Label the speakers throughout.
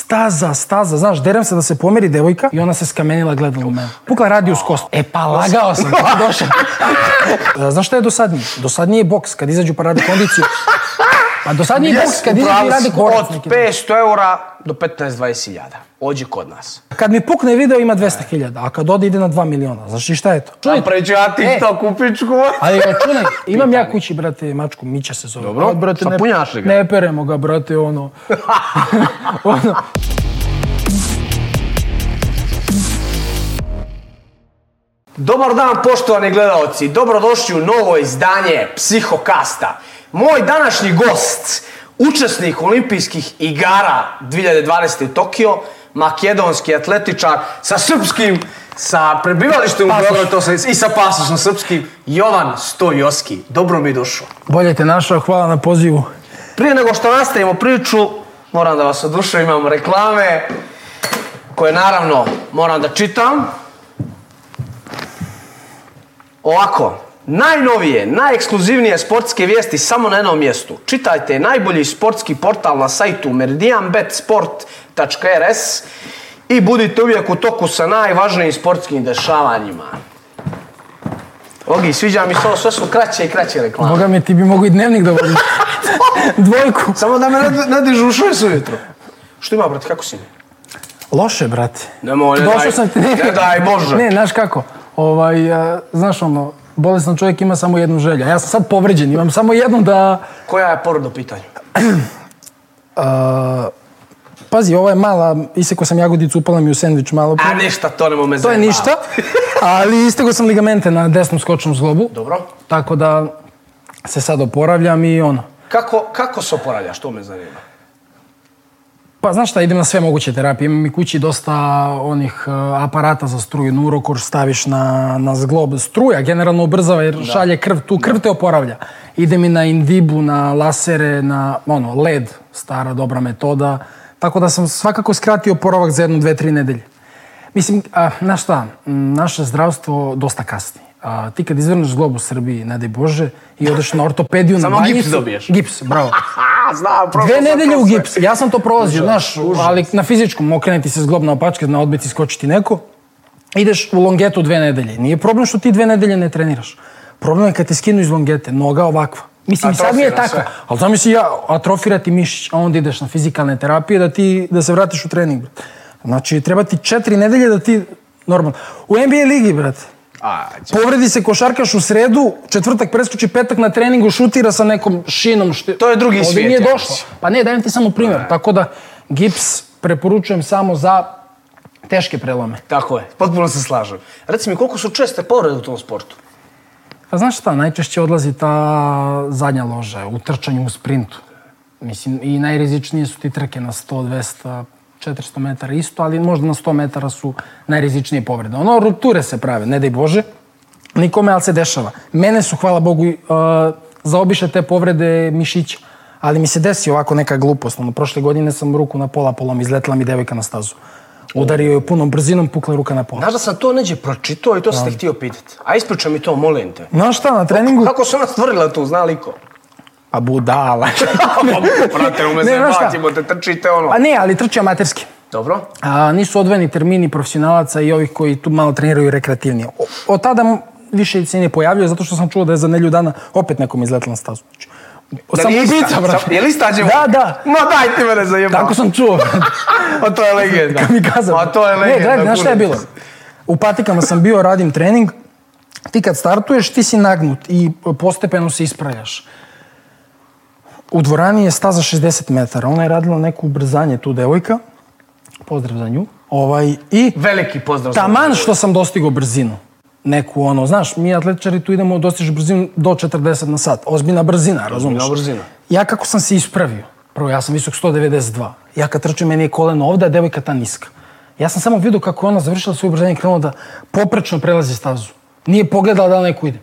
Speaker 1: staza, staza, znaš, derem se da se pomeri devojka i ona se skamenila gledala u mene. Pukla radijus kost. E pa lagao sam, kad je došao. E, Znaš šta je dosadnije? Dosadnije je boks, kad izađu pa radi kondiciju. Pa dosadnije je boks, kad izađu i radi korac
Speaker 2: Od
Speaker 1: neki.
Speaker 2: 500 eura do 15-20 hiljada. Ođi kod nas.
Speaker 1: Kad mi pukne video ima 200.000, a kad ode ide na 2 miliona. Znaš i šta je to? Čuj,
Speaker 2: Napreću ja TikTok u pičku.
Speaker 1: ali računaj, imam ja kući, brate, mačku, Mića se zove.
Speaker 2: Dobro,
Speaker 1: Od, brate,
Speaker 2: šta
Speaker 1: ne-
Speaker 2: punjaš li ga?
Speaker 1: Ne peremo ga, brate, ono. ono,
Speaker 2: Dobar dan poštovani gledalci, dobrodošli u novo izdanje Psihokasta. Moj današnji gost, učesnik olimpijskih igara 2020. u Tokio, makedonski atletičar sa srpskim, sa prebivalištem u Beogradu to se- i sa pasošom srpskim, Jovan Stojoski. Dobro mi došao.
Speaker 1: bolje te našao, hvala na pozivu.
Speaker 2: Prije nego što nastavimo priču, moram da vas oduševim, imam reklame koje naravno moram da čitam. Ovako, najnovije, najekskluzivnije sportske vijesti samo na jednom mjestu. Čitajte najbolji sportski portal na sajtu meridianbetsport.rs i budite uvijek u toku sa najvažnijim sportskim dešavanjima. Ogi, sviđa mi se ovo, sve su kraće i kraće reklame.
Speaker 1: Boga mi, ti bi mogu i dnevnik da vodiš. Dvojku.
Speaker 2: Samo da me ne, ne dižu u šest ujutro. Što ima, brate, kako si mi?
Speaker 1: Loše, brate.
Speaker 2: Nemoj, ne daj-
Speaker 1: Došao sam ti.
Speaker 2: ne daj Bože.
Speaker 1: Ne, znaš kako, ovaj, a, znaš ono, bolestan čovjek ima samo jednu želju. a Ja sam sad povređen, imam samo jednu da...
Speaker 2: Koja je poruda u pitanju?
Speaker 1: a, pazi, ova je mala, isekao sam jagodicu, upala mi u sendvič malo.
Speaker 2: A ništa, to nemoj me
Speaker 1: to je
Speaker 2: zajebavati.
Speaker 1: ništa, ali istego sam ligamente na desnom skočnom zglobu.
Speaker 2: Dobro.
Speaker 1: Tako da se sad oporavljam i ono.
Speaker 2: Kako, kako se oporavljaš, to me zanima.
Speaker 1: Pa znaš šta, idem na sve moguće terapije. Imam i kući dosta onih e, aparata za struju. Nurokor staviš na, na zglob. Struja generalno ubrzava jer šalje krv tu. Krv te oporavlja. Idem i na indibu, na lasere, na ono, led. Stara dobra metoda. Tako da sam svakako skratio oporavak za jednu, dve, tri nedelje. Mislim, a, znaš šta, m, naše zdravstvo dosta kasni. A, ti kad izvrneš zglob u Srbiji, ne daj Bože, i odeš na ortopediju
Speaker 2: Samo
Speaker 1: na
Speaker 2: gips
Speaker 1: banjicu...
Speaker 2: dobiješ.
Speaker 1: Gips, bravo.
Speaker 2: A, znam, probao
Speaker 1: Dve
Speaker 2: sam
Speaker 1: nedelje
Speaker 2: to
Speaker 1: u
Speaker 2: sve.
Speaker 1: gips. Ja sam to prolazio, znaš, ali na fizičkom okrene ti se zglob na opačke, na odbici skoči ti neko. Ideš u longetu dve nedelje. Nije problem što ti dve nedelje ne treniraš. Problem je kad te skinu iz longete, noga ovakva. Mislim, i sad mi je
Speaker 2: Atrofira
Speaker 1: tako.
Speaker 2: sve.
Speaker 1: Ali zamisli ja, atrofira ti mišić, a onda ideš na fizikalne terapije da ti, da se vratiš u trening, brate. Znači, treba ti četiri nedelje da ti, normalno. U NBA ligi, brate,
Speaker 2: A,
Speaker 1: povredi se košarkaš u sredu, četvrtak preskoči petak na treningu, šutira sa nekom šinom. Šti...
Speaker 2: To je drugi
Speaker 1: Ovdje
Speaker 2: svijet,
Speaker 1: nije
Speaker 2: ja
Speaker 1: došlo. Pa ne, dajem ti samo primjer. Tako da, gips preporučujem samo za teške prelome.
Speaker 2: tako je, potpuno se slažem. Reci mi, koliko su česte povrede u tom sportu?
Speaker 1: Pa znaš šta, najčešće odlazi ta zadnja loža u trčanju u sprintu. Mislim, i najrizičnije su ti trke na 100, 200, 400 metara isto, ali možda na 100 metara su najrizičnije povrede. Ono, rupture se prave, ne daj Bože, nikome, ali se dešava. Mene su, hvala Bogu, uh, zaobišle te povrede mišića. Ali mi se desi ovako neka glupost. Ono, prošle godine sam ruku na pola polom, izletila mi devojka na stazu. Udario je punom brzinom, pukla ruka na pola.
Speaker 2: Znaš da sam to neđe pročitao i to sam te htio pitati. A ispričaj mi to, molim te.
Speaker 1: Znaš šta, na treningu...
Speaker 2: Kako se ona stvorila tu, zna liko?
Speaker 1: Pa budala.
Speaker 2: Prate, ume
Speaker 1: Ne,
Speaker 2: se
Speaker 1: znaš šta?
Speaker 2: bacimo, te trčite ono.
Speaker 1: Pa ne, ali trči amaterski.
Speaker 2: Dobro.
Speaker 1: A, nisu odvojeni termini profesionalaca i ovih koji tu malo treniraju rekreativnije. O, od tada m- više se ne pojavljuje zato što sam čuo da je za nelju dana opet nekom izletila na stazu. Znači,
Speaker 2: Da
Speaker 1: sam
Speaker 2: li je ista?
Speaker 1: ubica, brate.
Speaker 2: Sam- Je li ista djevojka?
Speaker 1: Da, da.
Speaker 2: Ma daj ti mene zajebao.
Speaker 1: Tako sam čuo.
Speaker 2: A to je legenda.
Speaker 1: Kad mi kazao.
Speaker 2: A to je legenda.
Speaker 1: Ne, gledaj, znaš šta je
Speaker 2: kurva.
Speaker 1: bilo? U patikama sam bio, radim trening. Ti kad startuješ, ti si nagnut i postepeno se ispravljaš. U dvorani je staza 60 metara. Ona je radila neko ubrzanje tu devojka. Pozdrav za nju. Ovaj, I
Speaker 2: Veliki pozdrav. za
Speaker 1: Taman
Speaker 2: vas.
Speaker 1: što sam dostigao brzinu. Neku ono, znaš, mi atletičari tu idemo, dostižeš brzinu do 40 na sat. Ozbiljna brzina, razumiješ?
Speaker 2: Ozbiljna brzina.
Speaker 1: Ja kako sam se ispravio, prvo ja sam visok 192, ja kad trčim meni je koleno ovde, a devojka ta niska. Ja sam samo vidio kako je ona završila svoje ubrzanje i krenula da poprečno prelazi stazu. Nije pogledala da li neko ide.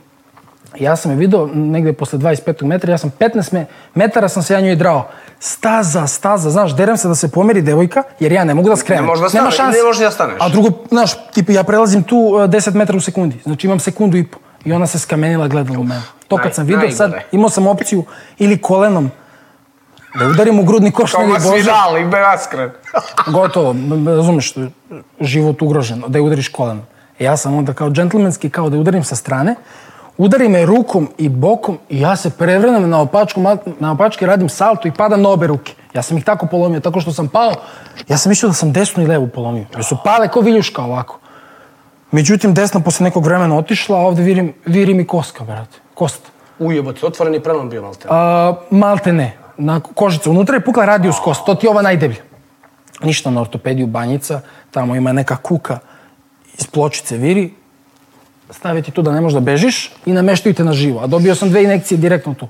Speaker 1: Ja sam je vidio negde posle 25. metra, ja sam 15 me- metara sam se ja njoj drao. Staza, staza, znaš, derem se da se pomeri devojka, jer ja ne mogu da skrenem.
Speaker 2: možeš da
Speaker 1: Nema
Speaker 2: staneš,
Speaker 1: šanse.
Speaker 2: ne možeš da staneš.
Speaker 1: A drugo, znaš, tipa ja prelazim tu e, 10 metara u sekundi, znači imam sekundu i po. I ona se skamenila, gledala u mene. To
Speaker 2: naj-
Speaker 1: kad sam vidio, sad
Speaker 2: najgore.
Speaker 1: imao sam opciju ili kolenom Da udarim u grudni koš
Speaker 2: Kao
Speaker 1: ne
Speaker 2: ma svi
Speaker 1: Bože.
Speaker 2: dali, be raskren.
Speaker 1: Gotovo, m- m- razumeš, život ugrožen, da je udariš kolenom. E, Ja sam onda kao džentlmenski, kao da je udarim sa strane, udari me rukom i bokom i ja se prevrenem na opačku, mat- na opački radim salto i padam na obe ruke. Ja sam ih tako polomio, tako što sam pao, ja sam mislio da sam desnu i levu polomio. Jer su pale ko viljuška ovako. Međutim, desna posle nekog vremena otišla, a ovde virim, virim i koska, brate. Kost.
Speaker 2: Ujebote, otvoreni prelom bio malte.
Speaker 1: A, malte ne. Na kožicu. Unutra je pukla radius kost. To ti je ova najdeblja. Ništa na ortopediju banjica. Tamo ima neka kuka iz pločice viri. Stave ti tu da ne možeš da bežiš i nameštaju te na živo. A dobio sam dve inekcije direktno tu.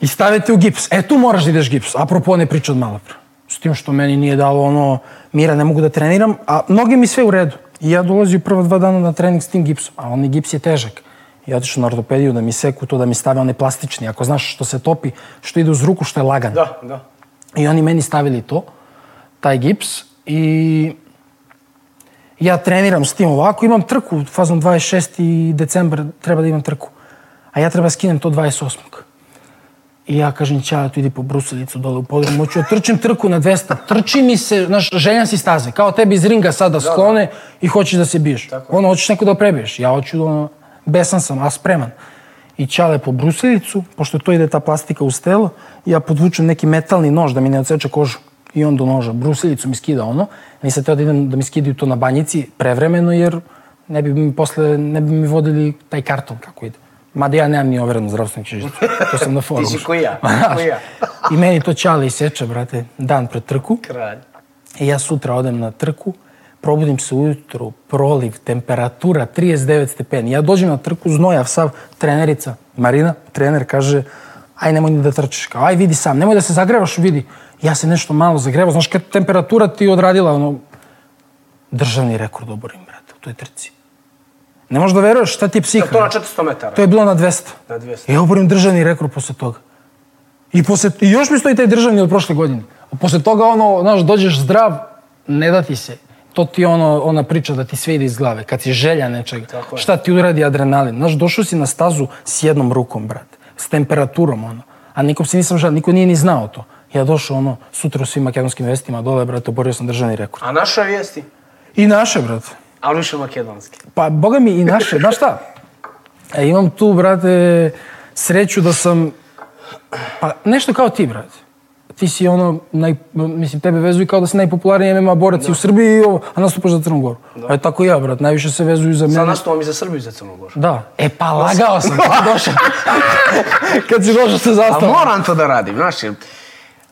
Speaker 1: I stave te u gips. E, tu moraš da ideš gips. Apropo, ne priča od malo pre. S tim što meni nije dalo ono, mira, ne mogu da treniram, a noge mi sve u redu. I ja dolazim prva dva dana na trening s tim gipsom, a onaj gips je težak. I otišao na ortopediju da mi seku to, da mi stave one plastični, ako znaš što se topi, što ide uz ruku, što je lagano.
Speaker 2: Da, da.
Speaker 1: I oni meni stavili to, taj gips i ja treniram s tim ovako, imam trku, fazom 26. decembar treba da imam trku. A ja treba skinem to 28. I ja kažem, ćao, tu idi po brusilicu dole u podrum, hoću da trčim trku na 200. Trči mi se, znaš, željan si staze, kao tebi iz ringa sada sklone i hoćeš da se biješ. Ono, hoćeš neko da prebiješ. Ja hoću, ono, besan sam, a spreman. I čale po brusilicu, pošto to ide ta plastika uz telo, ja podvučem neki metalni nož da mi ne odseče kožu. I on do noža, brusilicu mi skida ono, nisam teo da idem da mi skidaju to na banjici prevremeno, jer ne bi mi posle, ne bi mi vodili taj karton kako ide. Mada ja nemam ni overenu zdravstvenu knjižicu, to sam na forumu.
Speaker 2: Ti si koji ja, koji ja.
Speaker 1: I meni to čale iseče, brate, dan pred trku.
Speaker 2: Kralj.
Speaker 1: I ja sutra odem na trku, probudim se ujutru, proliv, temperatura 39 stepeni. Ja dođem na trku, znojav sav, trenerica, Marina, trener, kaže, aj nemoj ni da trčiš, kao, aj vidi sam, nemoj da se zagrevaš, vidi. Ja se nešto malo zagrevao, znaš kad temperatura ti je odradila, ono, državni rekord oborim, brate, u toj trci. Ne možeš da veruješ šta ti je psiha.
Speaker 2: To na
Speaker 1: brate.
Speaker 2: 400 metara.
Speaker 1: To je bilo na 200.
Speaker 2: Na 200.
Speaker 1: Ja oborim državni rekord posle toga. I, posle, I još mi stoji taj državni od prošle godine. A posle toga, ono, znaš, dođeš zdrav, ne da ti se. To ti je ono, ona priča da ti sve ide iz glave, kad si želja nečega.
Speaker 2: Tako je.
Speaker 1: Šta ti uradi adrenalin? Znaš, došao si na stazu s jednom rukom, brate. S temperaturom, ono. A nikom se nisam žal, niko nije ni znao to. Ja došao, ono, sutra u svim makedonskim vestima dole, brate, oborio sam državni rekord.
Speaker 2: A naša vijesti?
Speaker 1: I naše, brate.
Speaker 2: Ali više makedonski.
Speaker 1: Pa, boga mi i naše. Znaš šta? E, imam tu, brate, sreću da sam... Pa, nešto kao ti, brate. Ti si ono, naj, mislim, tebe vezuju kao da si najpopularniji MMA borac i u Srbiji, i ovo, a nastupaš za Crnu Goru. E, tako i ja, brat, najviše se vezuju za
Speaker 2: Sad
Speaker 1: mene.
Speaker 2: nastupam i za Srbiju i za Crnu Goru.
Speaker 1: Da. E, pa lagao sam kad si došao. kad si došao sa
Speaker 2: A
Speaker 1: zastavom.
Speaker 2: moram to da radim, znaš, jer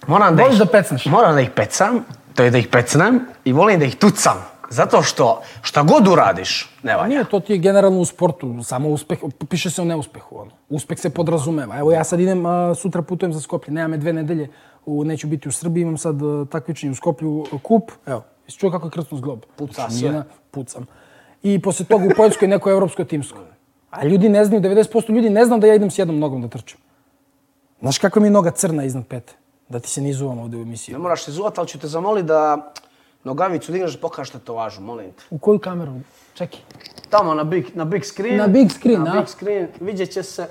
Speaker 2: moram da,
Speaker 1: Voliš
Speaker 2: ih,
Speaker 1: da pecneš?
Speaker 2: moram da ih pecam, to je da ih pecnem i volim da ih tucam. Zato što šta god uradiš, ne valja.
Speaker 1: Pa Nije, to ti je generalno u sportu, samo uspeh, piše se o neuspehu. Ono. Uspeh se podrazumeva. Evo ja sad idem, a, sutra putujem za Skoplje, nema me dve nedelje, u, neću biti u Srbiji, imam sad a, takmičenje u Skoplju, a, kup, evo, jesi čuo kako je krcno zglob?
Speaker 2: Puca
Speaker 1: Znači,
Speaker 2: sve.
Speaker 1: nije na- Pucam. I posle toga u Poljskoj neko evropsko timsko. A ljudi ne znaju, 90% ljudi ne znam da ja idem s jednom nogom da trčim. Znaš kakva mi je noga crna iznad pete? Da ti se ne izuvam ovde u emisiji.
Speaker 2: Ne moraš se zuvat, ali ću te zamoliti da nogavicu digneš da pokažeš tetovažu, molim te.
Speaker 1: U koju kameru? Čekaj.
Speaker 2: Tamo na big, na big screen.
Speaker 1: Na big screen,
Speaker 2: na
Speaker 1: a?
Speaker 2: big screen, vidjet će se...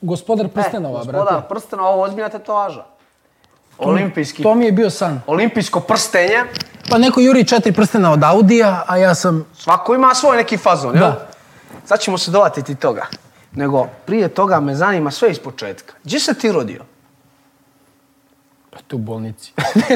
Speaker 1: Gospodar
Speaker 2: E,
Speaker 1: prstenova, brate.
Speaker 2: gospodar prstenova, ovo je ozbiljna tetovaža. Olimpijski,
Speaker 1: To mi je bio san.
Speaker 2: olimpijsko prstenje,
Speaker 1: Pa neko juri četiri prstena od Audija, a ja sam...
Speaker 2: svako ima svoj neki fazon, jel?
Speaker 1: Da.
Speaker 2: Sad ćemo se dovatiti toga. Nego, prije toga me zanima sve iz početka. Gdje se ti rodio?
Speaker 1: Pa tu u bolnici.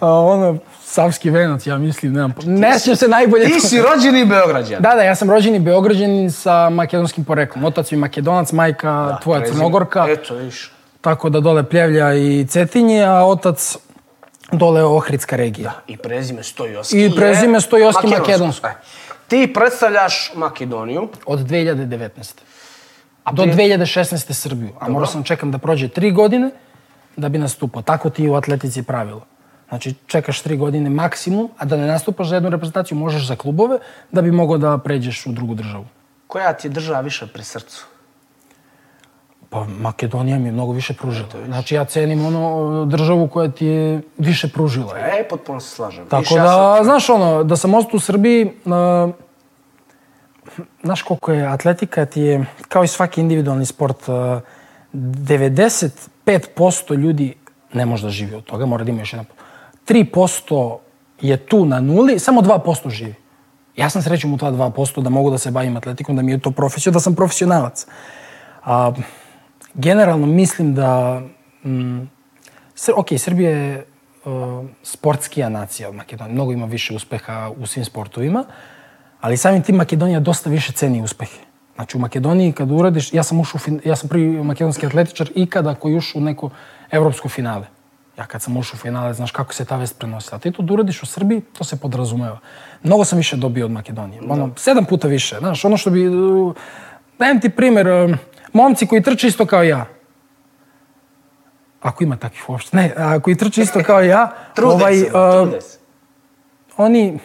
Speaker 1: a, ono, Savski venac, ja mislim, nemam... po- Ne sjećam se najbolje.
Speaker 2: Ti si rođeni Beograđan.
Speaker 1: Da, da, ja sam rođeni Beograđanin sa makedonskim poreklom. Otac mi je makedonac, majka tvoja
Speaker 2: Prezime.
Speaker 1: crnogorka.
Speaker 2: Eto, viš.
Speaker 1: Tako da dole Pljevlja i Cetinje, a otac dole Ohridska regija.
Speaker 2: I prezime Stojoski.
Speaker 1: I
Speaker 2: je
Speaker 1: prezime Stojoski makedonsko.
Speaker 2: E. Ti predstavljaš Makedoniju.
Speaker 1: Od 2019.
Speaker 2: A
Speaker 1: Do
Speaker 2: prije-
Speaker 1: 2016. Srbiju. A morao sam čekam da prođe tri godine da bi nastupao. Tako ti je u atletici pravilo. Znači, čekaš tri godine maksimum, a da ne nastupaš za jednu reprezentaciju, možeš za klubove, da bi mogao da pređeš u drugu državu.
Speaker 2: Koja ti je država više pri srcu?
Speaker 1: Pa Makedonija mi je mnogo više pružila. Znači, ja cenim ono državu koja ti je više pružila.
Speaker 2: E, potpuno se slažem.
Speaker 1: Tako
Speaker 2: Viš, ja sam-
Speaker 1: da, znaš ono, da sam ostao u Srbiji, a, znaš koliko je, atletika ti je, kao i svaki individualni sport, uh, 95% ljudi ne može da živi od toga, mora da ima još jedan 3% je tu na nuli, samo 2% živi. Ja sam srećom u ta 2% da mogu da se bavim atletikom, da mi je to profesija, da sam profesionalac. A, generalno mislim da... Mm, Sr ok, Srbija je uh, sportskija nacija od Makedonije. Mnogo ima više uspeha u svim sportovima, ali samim tim Makedonija dosta više ceni uspehe. Znači u Makedoniji kad uradiš, ja sam, ušao, u fin- ja sam prvi makedonski atletičar ikada koji je ušao u neko evropsko finale. Ja kad sam ušao u finale, znaš kako se ta vest prenosila. Ti to da uradiš u Srbiji, to se podrazumeva. Mnogo sam više dobio od Makedonije. Ono, sedam puta više. Znaš, ono što bi... uh, Dajem ti primjer, um, momci koji trče isto kao ja. Ako ima takvih uopšte. Ne, ako i trče isto kao ja,
Speaker 2: Trude ovaj, se,
Speaker 1: uh,
Speaker 2: trude se.
Speaker 1: oni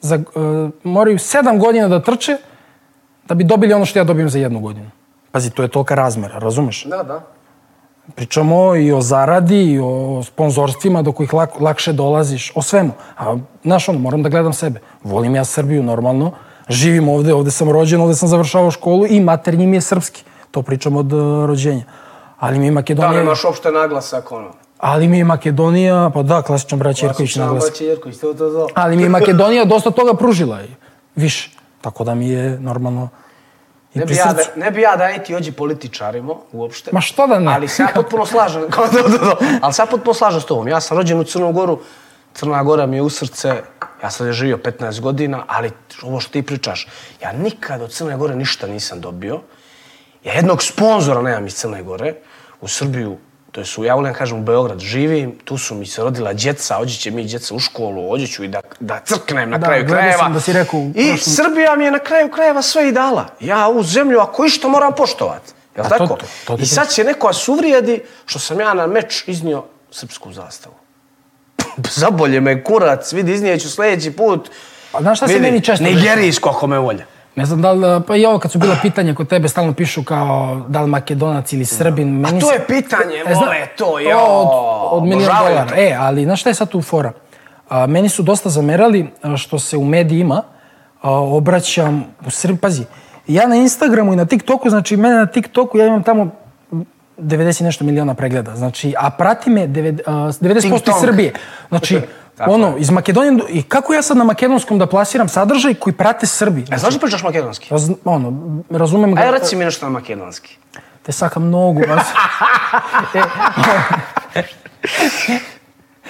Speaker 1: za, uh, moraju sedam godina da trče da bi dobili ono što ja dobijem za jednu godinu. Pazi, to je tolika razmera, razumeš?
Speaker 2: Da, da.
Speaker 1: Pričamo i o zaradi, i o sponzorstvima do kojih lak, lakše dolaziš, o svemu. A, znaš, ono, moram da gledam sebe. Volim ja Srbiju, normalno. Živim ovde, ovde sam rođen, ovde sam završavao školu i maternji mi je srpski. To pričam od uh, rođenja. Ali mi je
Speaker 2: Da,
Speaker 1: Makedonija...
Speaker 2: nemaš uopšte naglasak, ono.
Speaker 1: ali mi je Makedonija... Pa da, klasičan brać Jerković
Speaker 2: Klasična
Speaker 1: naglasak.
Speaker 2: Bači Jerković, to, to, to.
Speaker 1: Ali mi je Makedonija dosta toga pružila i više. Tako da mi je normalno i
Speaker 2: Ne
Speaker 1: pri
Speaker 2: bi, ja
Speaker 1: srcu.
Speaker 2: da, ne bi ja da niti ođi političarimo uopšte.
Speaker 1: Ma šta da ne?
Speaker 2: Ali se ja potpuno slažem. Kao, do, do, do. Ali se ja potpuno slažem s tobom. Ja sam rođen u Crnom Goru. Crna Gora mi je u srce. Ja sam je živio 15 godina, ali ovo što ti pričaš, ja nikad od Crne Gore ništa nisam dobio. Ja jednog sponzora nemam iz Crne Gore. U Srbiju, to je su, ja volim da kažem, u Beograd živim, tu su mi se rodila djeca, ođe će mi djeca u školu, ođe ću i da, da crknem na
Speaker 1: Da,
Speaker 2: kraju
Speaker 1: gledao
Speaker 2: krajeva.
Speaker 1: sam da si rekao u
Speaker 2: I
Speaker 1: prošlom-
Speaker 2: Srbija mi je na kraju krajeva sve i dala. Ja ovu zemlju, ako išta, moram poštovati. Jel
Speaker 1: A to-
Speaker 2: tako?
Speaker 1: to- to ti
Speaker 2: I sad će neko vas uvrijedi što sam ja na meč iznio srpsku zastavu. Zabolje me kurac, vidi, iznijeću sljedeći put.
Speaker 1: A znaš šta se meni često dešava?
Speaker 2: Nigerijsko, ako me volja.
Speaker 1: Ne znam da li, pa i ovo kad su bila pitanja kod tebe, stalno pišu kao da li makedonac ili srbin.
Speaker 2: A
Speaker 1: Meni
Speaker 2: to
Speaker 1: se-
Speaker 2: je pitanje,
Speaker 1: E, zna-
Speaker 2: vole, to je...
Speaker 1: od, od milijona dolara. E, ali znaš šta je sad tu fora? A, meni su dosta zamerali a, što se u medijima a, obraćam u Srbiji. Pazi, ja na Instagramu i na TikToku, znači mene na TikToku, ja imam tamo 90 i nešto miliona pregleda. Znači, a prati me deved- a, 90% iz
Speaker 2: Ting-tong.
Speaker 1: Srbije. Znači,
Speaker 2: Tako
Speaker 1: ono, iz Makedonije, do- i kako ja sad na makedonskom da plasiram sadržaj koji prate Srbi?
Speaker 2: E, znaš da pričaš makedonski?
Speaker 1: Raz, ono, razumem ga.
Speaker 2: Aj, reci mi nešto na makedonski.
Speaker 1: Te saka mnogo, vas. e,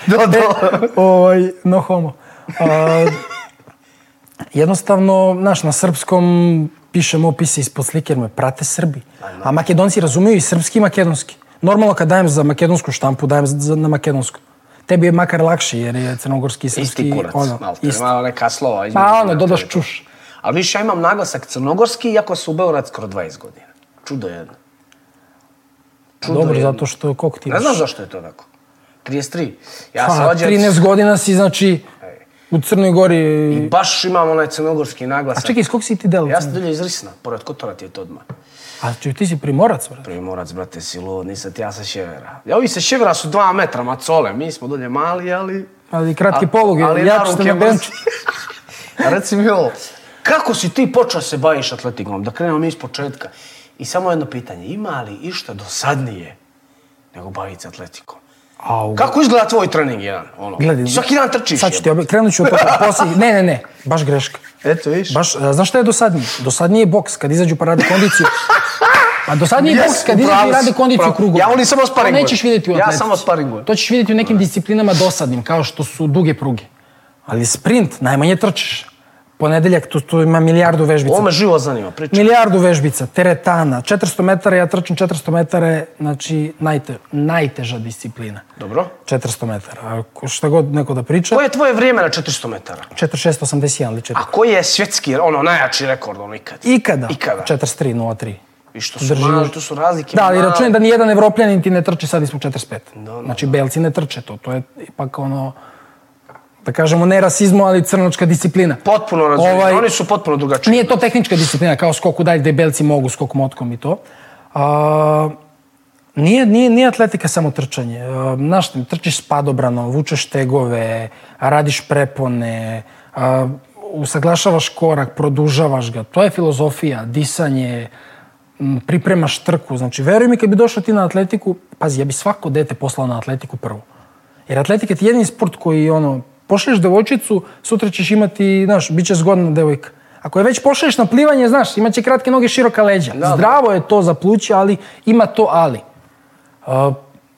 Speaker 2: Do,
Speaker 1: ovaj, no homo. A, jednostavno, znaš, na srpskom pišem opise ispod slike jer me prate Srbi. A makedonci razumiju i srpski i makedonski. Normalno kad dajem za makedonsku štampu, dajem za, na makedonsku. Tebi je makar lakše jer je crnogorski i srpski.
Speaker 2: Isti kurac,
Speaker 1: ono,
Speaker 2: malo,
Speaker 1: isti.
Speaker 2: malo neka slova. između,
Speaker 1: Pa ono,
Speaker 2: znate,
Speaker 1: dodaš
Speaker 2: to.
Speaker 1: čuš.
Speaker 2: Ali više ja imam naglasak crnogorski, iako su u Beograd skoro 20 godina. Čudo jedno. Čudo
Speaker 1: Dobro,
Speaker 2: jedno.
Speaker 1: zato što koliko ti
Speaker 2: Ne
Speaker 1: imaš?
Speaker 2: znam zašto je to tako. 33. Ja
Speaker 1: Pa,
Speaker 2: sam rođen...
Speaker 1: 13 godina si, znači, u Crnoj Gori...
Speaker 2: I baš imam onaj crnogorski naglasak.
Speaker 1: A čekaj, iz kog si ti delo?
Speaker 2: Ja sam dolje iz Risna, pored Kotora ti je to odmah.
Speaker 1: A čuj, ti si primorac, brate.
Speaker 2: Primorac, brate, si lud, nisam ti ja sa Ševera. Ja, ovi sa Ševera su dva metra, macole. Mi smo dolje mali, ali...
Speaker 1: Ali kratki
Speaker 2: A-
Speaker 1: polog,
Speaker 2: ali
Speaker 1: ja ću
Speaker 2: naruke
Speaker 1: se na
Speaker 2: mrz-
Speaker 1: benču.
Speaker 2: A Reci mi ovo, kako si ti počeo se baviš atletikom? Da krenemo mi iz početka. I samo jedno pitanje, ima li išta dosadnije nego baviti se atletikom?
Speaker 1: Au.
Speaker 2: Kako izgleda tvoj trening jedan? Ono, svaki dan trčiš.
Speaker 1: Sad ću ti
Speaker 2: jebote.
Speaker 1: obje... Krenut ću od toga. Poslije... Ne, ne, ne. Baš greška.
Speaker 2: Eto, viš.
Speaker 1: Baš, a, znaš šta je dosadnije? Dosadnije je boks kad izađu pa rade kondiciju. A dosadnije je
Speaker 2: Yes,
Speaker 1: boks kad
Speaker 2: upravo
Speaker 1: izađu i
Speaker 2: si,
Speaker 1: rade kondiciju
Speaker 2: upravo.
Speaker 1: krugova.
Speaker 2: Ja volim samo sparingujem.
Speaker 1: To nećeš vidjeti u
Speaker 2: Ja
Speaker 1: atletici.
Speaker 2: samo sparingujem.
Speaker 1: To ćeš vidjeti u nekim disciplinama dosadnim, kao što su duge pruge. Ali sprint, najmanje trčiš. Ponedeljak, tu, tu ima milijardu vežbica.
Speaker 2: Ovo me živo zanima, priča.
Speaker 1: Milijardu vežbica, teretana, 400 metara, ja trčim 400 metara, je, znači najte, najteža disciplina.
Speaker 2: Dobro.
Speaker 1: 400 metara, ako šta god neko da priča,
Speaker 2: Koje je tvoje vrijeme na 400 metara?
Speaker 1: 4681 ili 4.
Speaker 2: A koji je svjetski, ono, najjači rekord, ono, ikad?
Speaker 1: Ikada,
Speaker 2: Ikada.
Speaker 1: 43.03.
Speaker 2: I što su, mali, tu su razlike.
Speaker 1: Da, ali
Speaker 2: male.
Speaker 1: računaj da nijedan evropljanin ti ne trči sad ispod 45.
Speaker 2: da,
Speaker 1: znači, belci ne trče to, to je ipak ono, da kažemo, ne rasizmu, ali crnočka disciplina.
Speaker 2: Potpuno razumijem.
Speaker 1: Ovaj-
Speaker 2: Oni su potpuno drugačiji.
Speaker 1: Nije to tehnička disciplina, kao skok u dalj, gde belci mogu skok motkom i to. A, nije, nije, nije atletika samo trčanje. A, Znaš, trčiš s padobranom, vučeš tegove, radiš prepone, a, e, usaglašavaš korak, produžavaš ga. To je filozofija, disanje, m, pripremaš trku. Znači, veruj mi, kad bi došao ti na atletiku, pazi, ja bi svako dete poslao na atletiku prvo. Jer atletika ti je jedini sport koji, ono, pošlješ devojčicu, sutra ćeš imati, znaš, bit će zgodna devojka. Ako je već pošlješ na plivanje, znaš, imat će kratke noge, široka leđa.
Speaker 2: Da, da.
Speaker 1: Zdravo je to za pluća, ali ima to ali. Uh,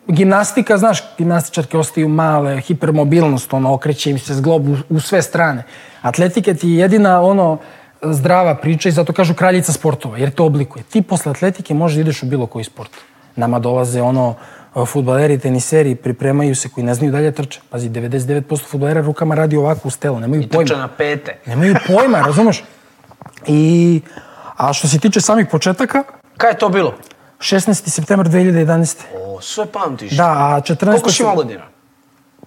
Speaker 1: gimnastika, znaš, gimnastičarke ostaju male, hipermobilnost, ono, okreće im se zglob u, u sve strane. Atletika ti je jedina, ono, zdrava priča i zato kažu kraljica sportova, jer te oblikuje. Ti posle atletike možeš da ideš u bilo koji sport. Nama dolaze, ono, futbaleri, teniseri, pripremaju se koji ne znaju dalje trče. Pazi, 99% futbalera rukama radi ovako uz telo, nemaju pojma.
Speaker 2: Trča na pete.
Speaker 1: Nemaju pojma, razumeš? I, a što se tiče samih početaka,
Speaker 2: Kaj je to bilo?
Speaker 1: 16. september 2011.
Speaker 2: O, sve pamtiš.
Speaker 1: Da, a 14.
Speaker 2: Koliko si
Speaker 1: sam-
Speaker 2: imao godina?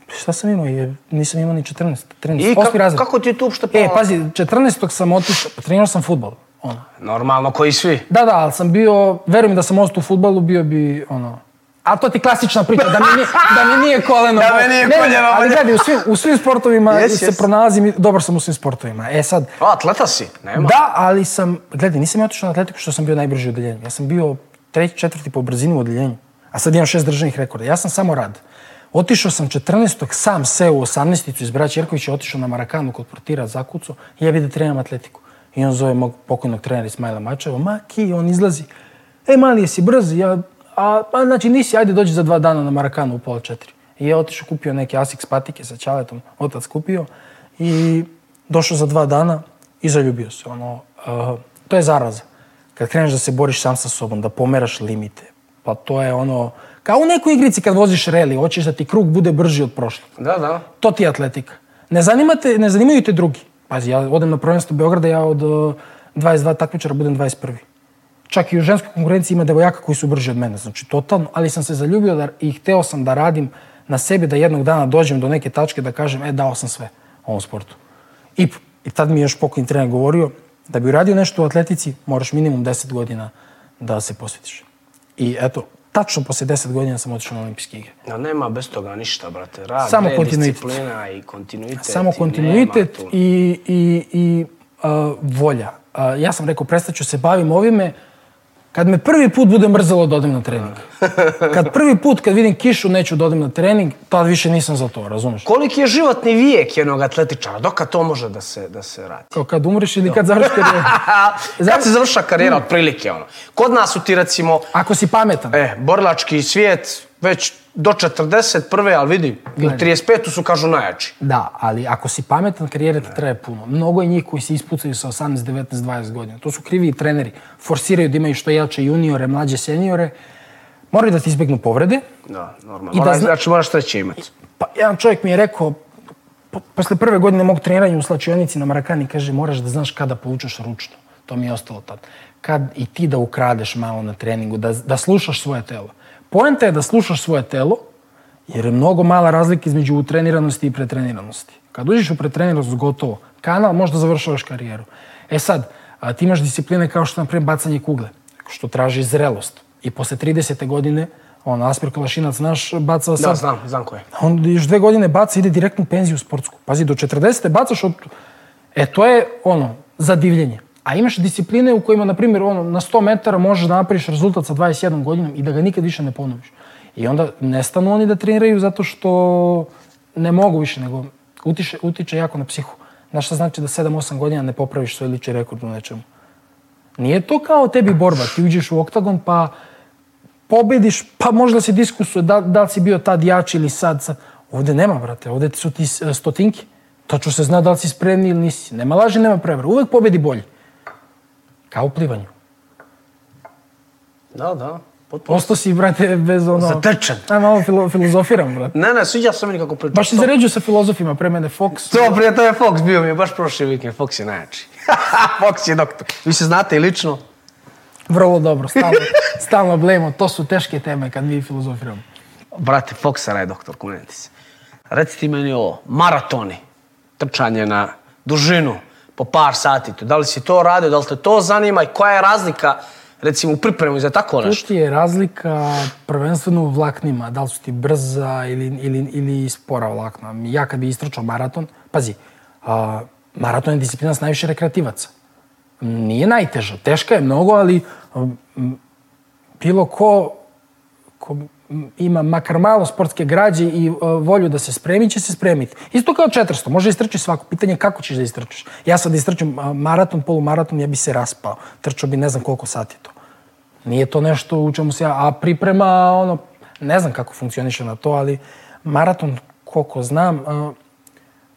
Speaker 1: Šta sam imao? Je, nisam imao ni 14, 13.
Speaker 2: I
Speaker 1: I kako,
Speaker 2: kako,
Speaker 1: razred.
Speaker 2: kako ti je tu uopšte
Speaker 1: E,
Speaker 2: palo?
Speaker 1: pazi, 14. sam otišao, pa trenirao sam futbol. Ono.
Speaker 2: Normalno, koji svi.
Speaker 1: Da, da, ali sam bio, verujem da sam ostao u futbalu, bio bi, ono, A to ti klasična priča, da mi nije, da mi nije koleno.
Speaker 2: Da mi nije
Speaker 1: Ne,
Speaker 2: koljeno
Speaker 1: Ali
Speaker 2: bolje.
Speaker 1: gledaj, u svim, u svim sportovima
Speaker 2: Jes,
Speaker 1: se
Speaker 2: jes.
Speaker 1: pronalazim, i dobar sam u svim sportovima. E sad,
Speaker 2: A, atleta si? Nema.
Speaker 1: Da, ali sam, gledaj, nisam ja otišao na atletiku što sam bio najbrži u odeljenju. Ja sam bio treći, četvrti po brzini u odeljenju. A sad imam šest državnih rekorda. Ja sam samo rad. Otišao sam 14. sam seo u 18. iz braća Jerkovića, otišao na Marakanu kod portira zakucu i ja vidim da trenam atletiku. I on zove mog pokojnog trenera Ismaila Mačeva, Maki, on izlazi. E, mali, jesi brz? Ja, a, a, znači nisi, ajde dođi za dva dana na Marakanu u pola četiri. I ja otišao, kupio neke Asics patike sa čaletom, otac kupio i došao za dva dana, i zaljubio se. Ono, uh, to je zaraza. Kad kreneš da se boriš sam sa sobom, da pomeraš limite, pa to je ono, kao u nekoj igrici kad voziš reli, hoćeš da ti krug bude brži od prošlog.
Speaker 2: Da, da.
Speaker 1: To ti je atletika. Ne, zanimate, ne zanimaju te drugi. Pazi, ja odem na prvenstvo Beograda, ja od uh, 22 takmičara budem 21. Čak i u ženskoj konkurenciji ima devojaka koji su brži od mene. Znači, totalno, ali sam se zaljubio da, i hteo sam da radim na sebi, da jednog dana dođem do neke tačke da kažem, e, dao sam sve ovom sportu. I, i tad mi je još pokojni trener govorio, da bi uradio nešto u atletici, moraš minimum 10 godina da se posvetiš. I eto, tačno posle 10 godina sam otišao na olimpijske igre.
Speaker 2: Da, nema bez toga ništa, brate. Rad,
Speaker 1: Samo
Speaker 2: red,
Speaker 1: kontinuitet.
Speaker 2: disciplina i kontinuitet.
Speaker 1: Samo
Speaker 2: i
Speaker 1: kontinuitet
Speaker 2: nema tu.
Speaker 1: i, i, i uh, volja. Uh, ja sam rekao, prestaću se bavim ovime, kad me prvi put bude mrzalo da odem na trening. kad prvi put, kad vidim kišu, neću da odem na trening, tad više nisam za to, razumeš?
Speaker 2: Koliki je životni vijek jednog atletičara? Dokad to može da se, da se radi?
Speaker 1: Kao kad umreš ili kad završiš karijeru.
Speaker 2: Kad se završa karijera, otprilike ono. Kod nas su ti recimo,
Speaker 1: Ako si pametan.
Speaker 2: e, borilački svijet, već do 41. ali vidi, ili 35. su kažu najjači.
Speaker 1: Da, ali ako si pametan, karijera ti traje puno. Mnogo je njih koji se ispucaju sa 18, 19, 20 godina. To su krivi i treneri. Forsiraju da imaju što jače juniore, mlađe seniore. Moraju da ti izbjegnu povrede.
Speaker 2: Da,
Speaker 1: I
Speaker 2: normalno.
Speaker 1: da
Speaker 2: Onaj,
Speaker 1: zna-
Speaker 2: Znači moraš treće imati.
Speaker 1: Pa jedan čovjek mi je rekao, po- posle prve godine mog treniranja u slačionici na Marakani, kaže, moraš da znaš kada povučeš ručno. To mi je ostalo tad. Kad i ti da ukradeš malo na treningu, da, da slušaš svoje telo. Poenta je da slušaš svoje telo, jer je mnogo mala razlika između utreniranosti i pretreniranosti. Kad uđeš u pretreniranost, gotovo. Kanal, možda završavaš karijeru. E sad, a, ti imaš discipline kao što, na primjer, bacanje kugle, što traži zrelost. I posle 30. godine, on, Asper Kalašinac naš, bacao
Speaker 2: Da,
Speaker 1: sad
Speaker 2: znam, znam ko je.
Speaker 1: On još dve godine baca, ide direktno u penziju sportsku. Pazi, do 40. bacaš od... E, to je, ono, zadivljenje. A imaš discipline u kojima, na primjer, ono, na 100 metara možeš da napraviš rezultat sa 21 godinom i da ga nikad više ne ponoviš. I onda nestanu oni da treniraju zato što ne mogu više, nego utiče, utiče jako na psihu. Znaš šta znači da 7-8 godina ne popraviš svoj lični rekord u nečemu? Nije to kao tebi borba. Ti uđeš u oktagon pa pobediš, pa možda se diskusuje da, da li si bio tad jači ili sad. sad. Ovde nema, brate, ovde su ti s- stotinki. Tačno se zna da li si spremni ili nisi. Nema laži, nema prevara. Uvek pobedi bolji. Kao u plivanju.
Speaker 2: Da, da, potpuno.
Speaker 1: Ostao si, brate, bez ono...
Speaker 2: Zatečen.
Speaker 1: A, malo filo, filozofiram, brate.
Speaker 2: Ne, ne, sviđa se meni kako pričaš.
Speaker 1: Baš se
Speaker 2: To-
Speaker 1: zaređuju sa filozofima, pre mene Fox.
Speaker 2: To prije, to je Fox bio mi je baš prošli vikend. Fox je najjači. Fox je doktor. Vi se znate i lično.
Speaker 1: Vrlo dobro, stalno, stalno blemo. To su teške teme kad mi filozofiramo.
Speaker 2: Brate, Foxara je doktor, kuneti se. Reci ti meni ovo, maratoni, trčanje na dužinu, po par sati. To, Da li si to radio, da li te to zanima i koja je razlika, recimo, u pripremu za tako
Speaker 1: Tu
Speaker 2: nešto?
Speaker 1: ti je razlika prvenstveno u vlaknima, da li su ti brza ili, ili, ili spora vlakna. Ja kad bi istračao maraton, pazi, a, maraton je disciplina s najviše rekreativaca. Nije najteža, teška je mnogo, ali m, bilo ko, ko ima makar malo sportske građe i uh, volju da se spremi, će se spremiti. Isto kao 400, može istrčiti svako. Pitanje je kako ćeš da istrčiš. Ja sad da istrčim uh, maraton, polumaraton, ja bi se raspao. Trčao bi ne znam koliko sati to. Nije to nešto u čemu se ja... A priprema, ono, ne znam kako funkcioniše na to, ali maraton, koliko znam, uh,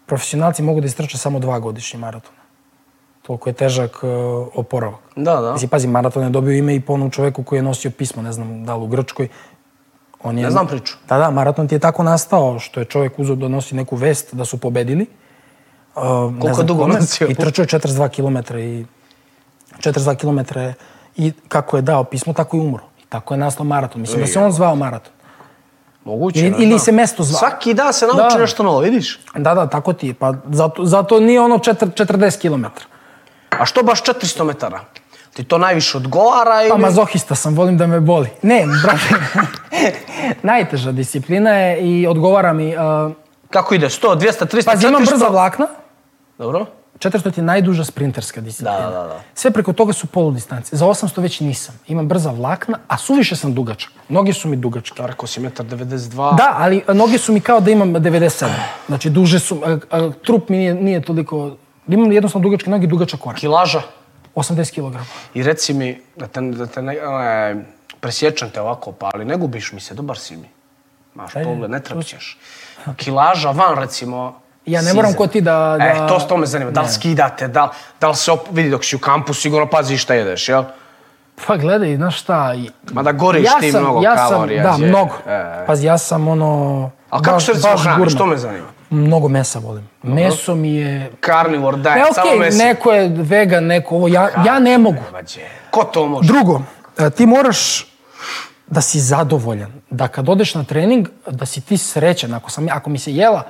Speaker 1: profesionalci mogu da istrče samo dva godišnji maraton. Toliko je težak e, oporavak.
Speaker 2: Da, da.
Speaker 1: Mislim, pazi, maraton je dobio ime i po onom čoveku koji je nosio pismo, ne znam da li u Grčkoj, On je,
Speaker 2: Ne znam priču.
Speaker 1: Da, da, maraton ti je tako nastao što je čovjek uzeo da nosi neku vest da su pobedili. Uh,
Speaker 2: Koliko dugo nosio?
Speaker 1: I trčao je 42 km i 42 km je- i kako je dao pismo, tako je umro. I tako je nastao maraton. Mislim da se on zvao maraton.
Speaker 2: Moguće.
Speaker 1: Ili-
Speaker 2: ne
Speaker 1: ili
Speaker 2: znam.
Speaker 1: se mesto zva.
Speaker 2: Svaki dan se nauči
Speaker 1: Da.
Speaker 2: nešto novo, vidiš?
Speaker 1: Da, da, tako ti je. Pa zato, zato nije ono četr, 40 km.
Speaker 2: A što baš 400 metara? Ti to najviše odgovara ili...
Speaker 1: Pa mazohista sam, volim da me boli. Ne, brate, najteža disciplina je i odgovara mi. Uh,
Speaker 2: Kako ide? 100, 200, 300,
Speaker 1: pazi,
Speaker 2: 400?
Speaker 1: imam brza vlakna,
Speaker 2: Dobro.
Speaker 1: 400 ti je najduža sprinterska disciplina.
Speaker 2: Da, da, da.
Speaker 1: Sve preko toga su poludistance. Za 800 već nisam. Imam brza vlakna, a suviše sam dugačak. Noge su mi dugačke.
Speaker 2: Da, rekao si 1,92 m.
Speaker 1: Da, ali e, noge su mi kao da imam 97. Znači, duže su, a, a, trup mi nije, nije toliko... Imam jednostavno dugačke noge i dugačak korak.
Speaker 2: Kilaža.
Speaker 1: 80 kg.
Speaker 2: I reci mi, da te, da te ne, e, presječem te ovako, pa ali ne gubiš mi se, dobar si mi. Maš
Speaker 1: Ajde,
Speaker 2: pogled, ne trepćeš. Kilaža van, recimo,
Speaker 1: Ja ne moram
Speaker 2: season.
Speaker 1: ko ti da- da-
Speaker 2: E, to, to me zanima. Da li
Speaker 1: Ne.
Speaker 2: skidate, da li, da li se op... vidi dok si u kampu, sigurno pazi šta jedeš, jel?
Speaker 1: Pa gledaj, znaš šta... i-
Speaker 2: Mada goriš ti mnogo
Speaker 1: ja sam,
Speaker 2: kalorija.
Speaker 1: Da,
Speaker 2: đe.
Speaker 1: mnogo.
Speaker 2: E.
Speaker 1: Pazi, ja sam ono...
Speaker 2: A kako
Speaker 1: baš-
Speaker 2: se recimo
Speaker 1: baš
Speaker 2: hraniš,
Speaker 1: gurman.
Speaker 2: to me zanima.
Speaker 1: Mnogo mesa volim. Meso mi je...
Speaker 2: Carnivore diet,
Speaker 1: Ne,
Speaker 2: E, samo
Speaker 1: E, okej,
Speaker 2: meso.
Speaker 1: neko je vegan, neko ovo, ja, ja ne mogu.
Speaker 2: Ma, đe. Ko to može?
Speaker 1: Drugo, e, ti moraš da si zadovoljan, da kad odeš na trening, da si ti srećan. Ako, sam, ako mi se jela,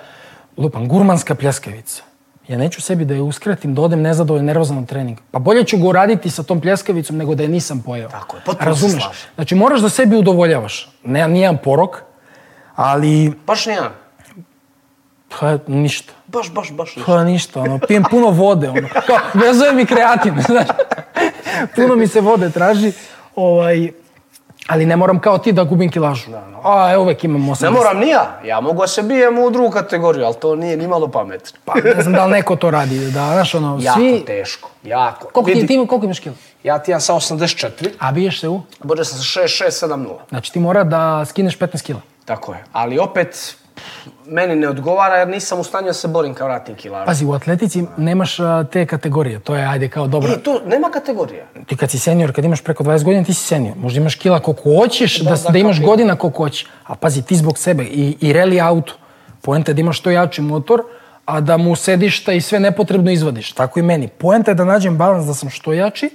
Speaker 1: lupam, gurmanska pljeskavica. Ja neću sebi da je uskratim, da odem nezadovoljan, nervozan na trening. Pa bolje ću ga uraditi sa tom pljeskavicom nego da je nisam pojeo.
Speaker 2: Tako je, potpuno se
Speaker 1: Razumeš?
Speaker 2: slažem.
Speaker 1: Znači, moraš da sebi udovoljavaš. Ne, nijedan porok, ali
Speaker 2: Baš nijedan.
Speaker 1: pa, ništa.
Speaker 2: Baš, baš, baš ništa.
Speaker 1: Pa ništa, ono, pijem puno vode, ono, kao, vezuje mi kreatin, znaš, puno mi se vode traži, ovaj, ali ne moram kao ti da gubim kilažu. A, evo, uvek imam 80.
Speaker 2: Ne moram ni ja. Ja mogu da se bijem u drugu kategoriju, ali to nije ni malo pametno.
Speaker 1: Pa, ne znam da li neko to radi, da, znaš, ono,
Speaker 2: Jako
Speaker 1: svi...
Speaker 2: teško, jako.
Speaker 1: Koliko, ti,
Speaker 2: Vidi,
Speaker 1: ti, koliko imaš kila?
Speaker 2: Ja ti imam sa 84,
Speaker 1: A biješ se u?
Speaker 2: bođe sam sa 6670.
Speaker 1: Znači, ti mora da skineš 15 kila.
Speaker 2: Tako je. Ali opet, meni ne odgovara jer nisam u stanju da se borim kao ratni kilar.
Speaker 1: Pazi, u atletici nemaš a, te kategorije, to je, ajde, kao dobro.
Speaker 2: I tu nema kategorija.
Speaker 1: Ti kad si senior, kad imaš preko 20 godina, ti si senior. Možda imaš kila koliko hoćeš, da, da,
Speaker 2: da,
Speaker 1: imaš
Speaker 2: kapiram.
Speaker 1: godina koliko hoćeš. A pazi, ti zbog sebe i, i rally auto. Poenta je da imaš što jači motor, a da mu sedišta i sve nepotrebno izvadiš. Tako i meni. Poenta je da nađem balans da sam što jači,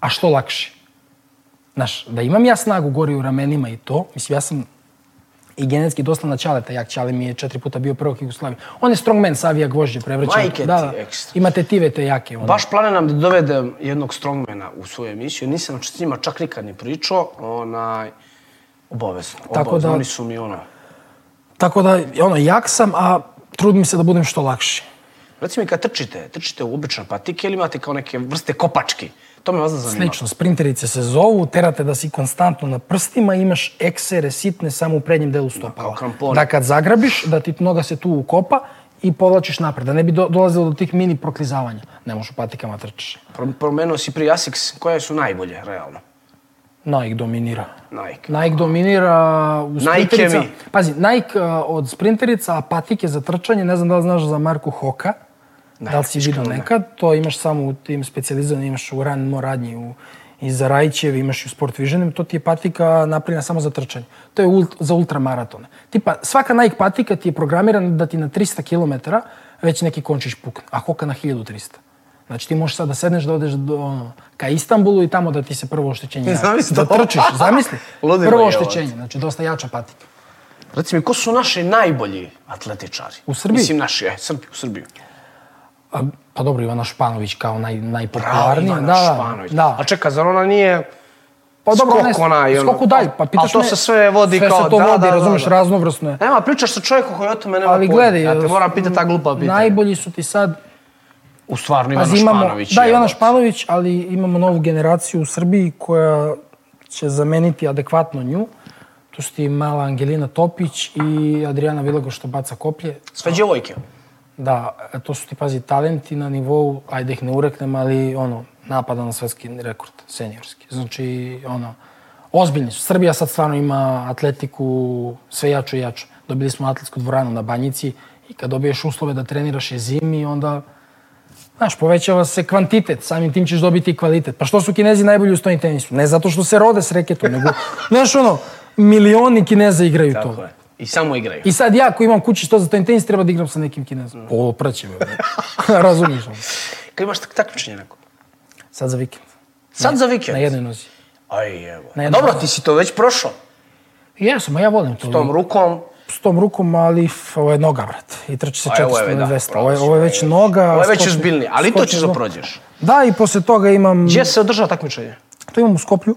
Speaker 1: a što lakši. Znaš, da imam ja snagu gori u ramenima i to, mislim, ja sam i genetski dosta na Čaleta. Jak Čale mi je četiri puta bio prvog Jugoslavije. On je strongman, savija gvožđe, prevraća.
Speaker 2: Majke ti,
Speaker 1: da, da.
Speaker 2: ekstra.
Speaker 1: Imate tive te jake. Ono.
Speaker 2: Pa Baš planiram da dovedem jednog strongmana u svoju emisiju. Nisam s njima čak nikad ni pričao. Onaj, obavezno.
Speaker 1: da-
Speaker 2: obavezno. Oni su mi ono...
Speaker 1: Tako da, ono, jak sam, a trudim se da budem što lakši.
Speaker 2: Recimo i kad trčite, trčite u obične patike ili imate kao neke vrste kopački? To me vas zanima.
Speaker 1: Slično, sprinterice se zovu, terate da si konstantno na prstima, imaš eksere sitne samo u prednjem delu stopala.
Speaker 2: kao kramponi.
Speaker 1: Da kad zagrabiš, da ti noga se tu ukopa i povlačiš napred, da ne bi do, dolazilo do tih mini proklizavanja. Ne možeš u patikama trčiš.
Speaker 2: Pro- Promenuo si prije Asics, koje su najbolje, realno?
Speaker 1: Nike dominira.
Speaker 2: Nike.
Speaker 1: Nike dominira u
Speaker 2: Nike
Speaker 1: sprinterica.
Speaker 2: mi.
Speaker 1: Pazi, Nike a, od sprinterica, a patike za trčanje, ne znam da li znaš za Marku Hoka. da li si vidio
Speaker 2: iskreno ne.
Speaker 1: nekad? To imaš samo u tim specializovanim, imaš u Run More radnji, u, i za Rajčev, imaš i u Sport Vision, to ti je patika napravljena samo za trčanje. To je ult, za ultramaratone. Tipa, svaka Nike patika ti je programirana da ti na 300 km već neki končić pukne, a Hoka na 1300. Znači ti možeš sad da sedneš, da odeš do, ono, ka Istanbulu i tamo da ti se prvo oštećenje javi.
Speaker 2: Zamisli
Speaker 1: da
Speaker 2: to.
Speaker 1: trčiš, zamisli.
Speaker 2: Ludilo
Speaker 1: prvo
Speaker 2: je ovo.
Speaker 1: oštećenje, znači dosta jača patika.
Speaker 2: Reci mi, ko su naši najbolji atletičari?
Speaker 1: U Srbiji?
Speaker 2: Mislim naši, e, Srbi, u Srbiji.
Speaker 1: A, pa dobro, Ivana Španović kao naj,
Speaker 2: Bravo,
Speaker 1: najpopularnija.
Speaker 2: Ivana Španović.
Speaker 1: Da.
Speaker 2: A čeka, zar ona nije
Speaker 1: Pa dobro,
Speaker 2: skok
Speaker 1: ne,
Speaker 2: onaj, ono?
Speaker 1: skok udalj, pa
Speaker 2: Al
Speaker 1: pitaš
Speaker 2: to
Speaker 1: me-
Speaker 2: se sve vodi
Speaker 1: sve
Speaker 2: kao...
Speaker 1: se to
Speaker 2: da,
Speaker 1: vodi,
Speaker 2: da, da,
Speaker 1: razumeš,
Speaker 2: da.
Speaker 1: raznovrsno je.
Speaker 2: Nema, pričaš sa čovjekom koji o tome nema
Speaker 1: Ali
Speaker 2: pojma.
Speaker 1: gledaj, e,
Speaker 2: Ja te
Speaker 1: s-
Speaker 2: moram pitati ta glupa pitanja.
Speaker 1: Najbolji su ti sad
Speaker 3: U stvarno Ivana
Speaker 1: Pazi, imamo,
Speaker 3: Španović.
Speaker 1: da,
Speaker 3: je,
Speaker 1: Ivana
Speaker 3: evo.
Speaker 1: Španović, ali imamo novu generaciju u Srbiji koja će zameniti adekvatno nju. Tu su ti mala Angelina Topić i Adriana Vilago što baca koplje.
Speaker 2: Sve djevojke.
Speaker 1: Da, e, to su ti, pazi, talenti na nivou, ajde ih ne ureknem, ali ono, napada na svetski rekord, seniorski. Znači, ono, ozbiljni su. Srbija sad stvarno ima atletiku sve jaču i jaču. Dobili smo atletsku dvoranu na Banjici i kad dobiješ uslove da treniraš je zimi, onda, znaš, povećava se kvantitet, samim tim ćeš dobiti i kvalitet. Pa što su Kinezi najbolji u stoni tenisu? Ne zato što se rode s reketom, nego, znaš, ono, milioni Kineza igraju to.
Speaker 2: Tako je. I samo igraju.
Speaker 1: I sad ja koji imam kući što za to tenis treba da igram sa nekim kinezom. Ovo praće me. bre. Razumiješ ono.
Speaker 2: Kad imaš tak- takmičenje neko?
Speaker 1: Sad za vikend.
Speaker 2: Sad za
Speaker 1: Na
Speaker 2: vikend.
Speaker 1: jednoj nozi.
Speaker 2: Aj, evo.
Speaker 1: Na jednu
Speaker 2: Dobro,
Speaker 1: nogu.
Speaker 2: ti si to već prošao.
Speaker 1: Jesam, a ja volim to.
Speaker 2: S tom rukom.
Speaker 1: S tom rukom, ali f, ovo je noga, brat. I trči se
Speaker 2: Aj, ovo je
Speaker 1: 400 na
Speaker 2: da,
Speaker 1: 200. Ovo je,
Speaker 2: pravo
Speaker 1: ovo je
Speaker 2: si,
Speaker 1: već noga.
Speaker 2: Ovo je već
Speaker 1: skoči-
Speaker 2: ozbiljnije, ali i to
Speaker 1: skoči
Speaker 2: ćeš da
Speaker 1: zlo-
Speaker 2: prođeš.
Speaker 1: Da, i posle toga imam...
Speaker 2: Gdje se održava takmičenje?
Speaker 1: To imam u Skoplju.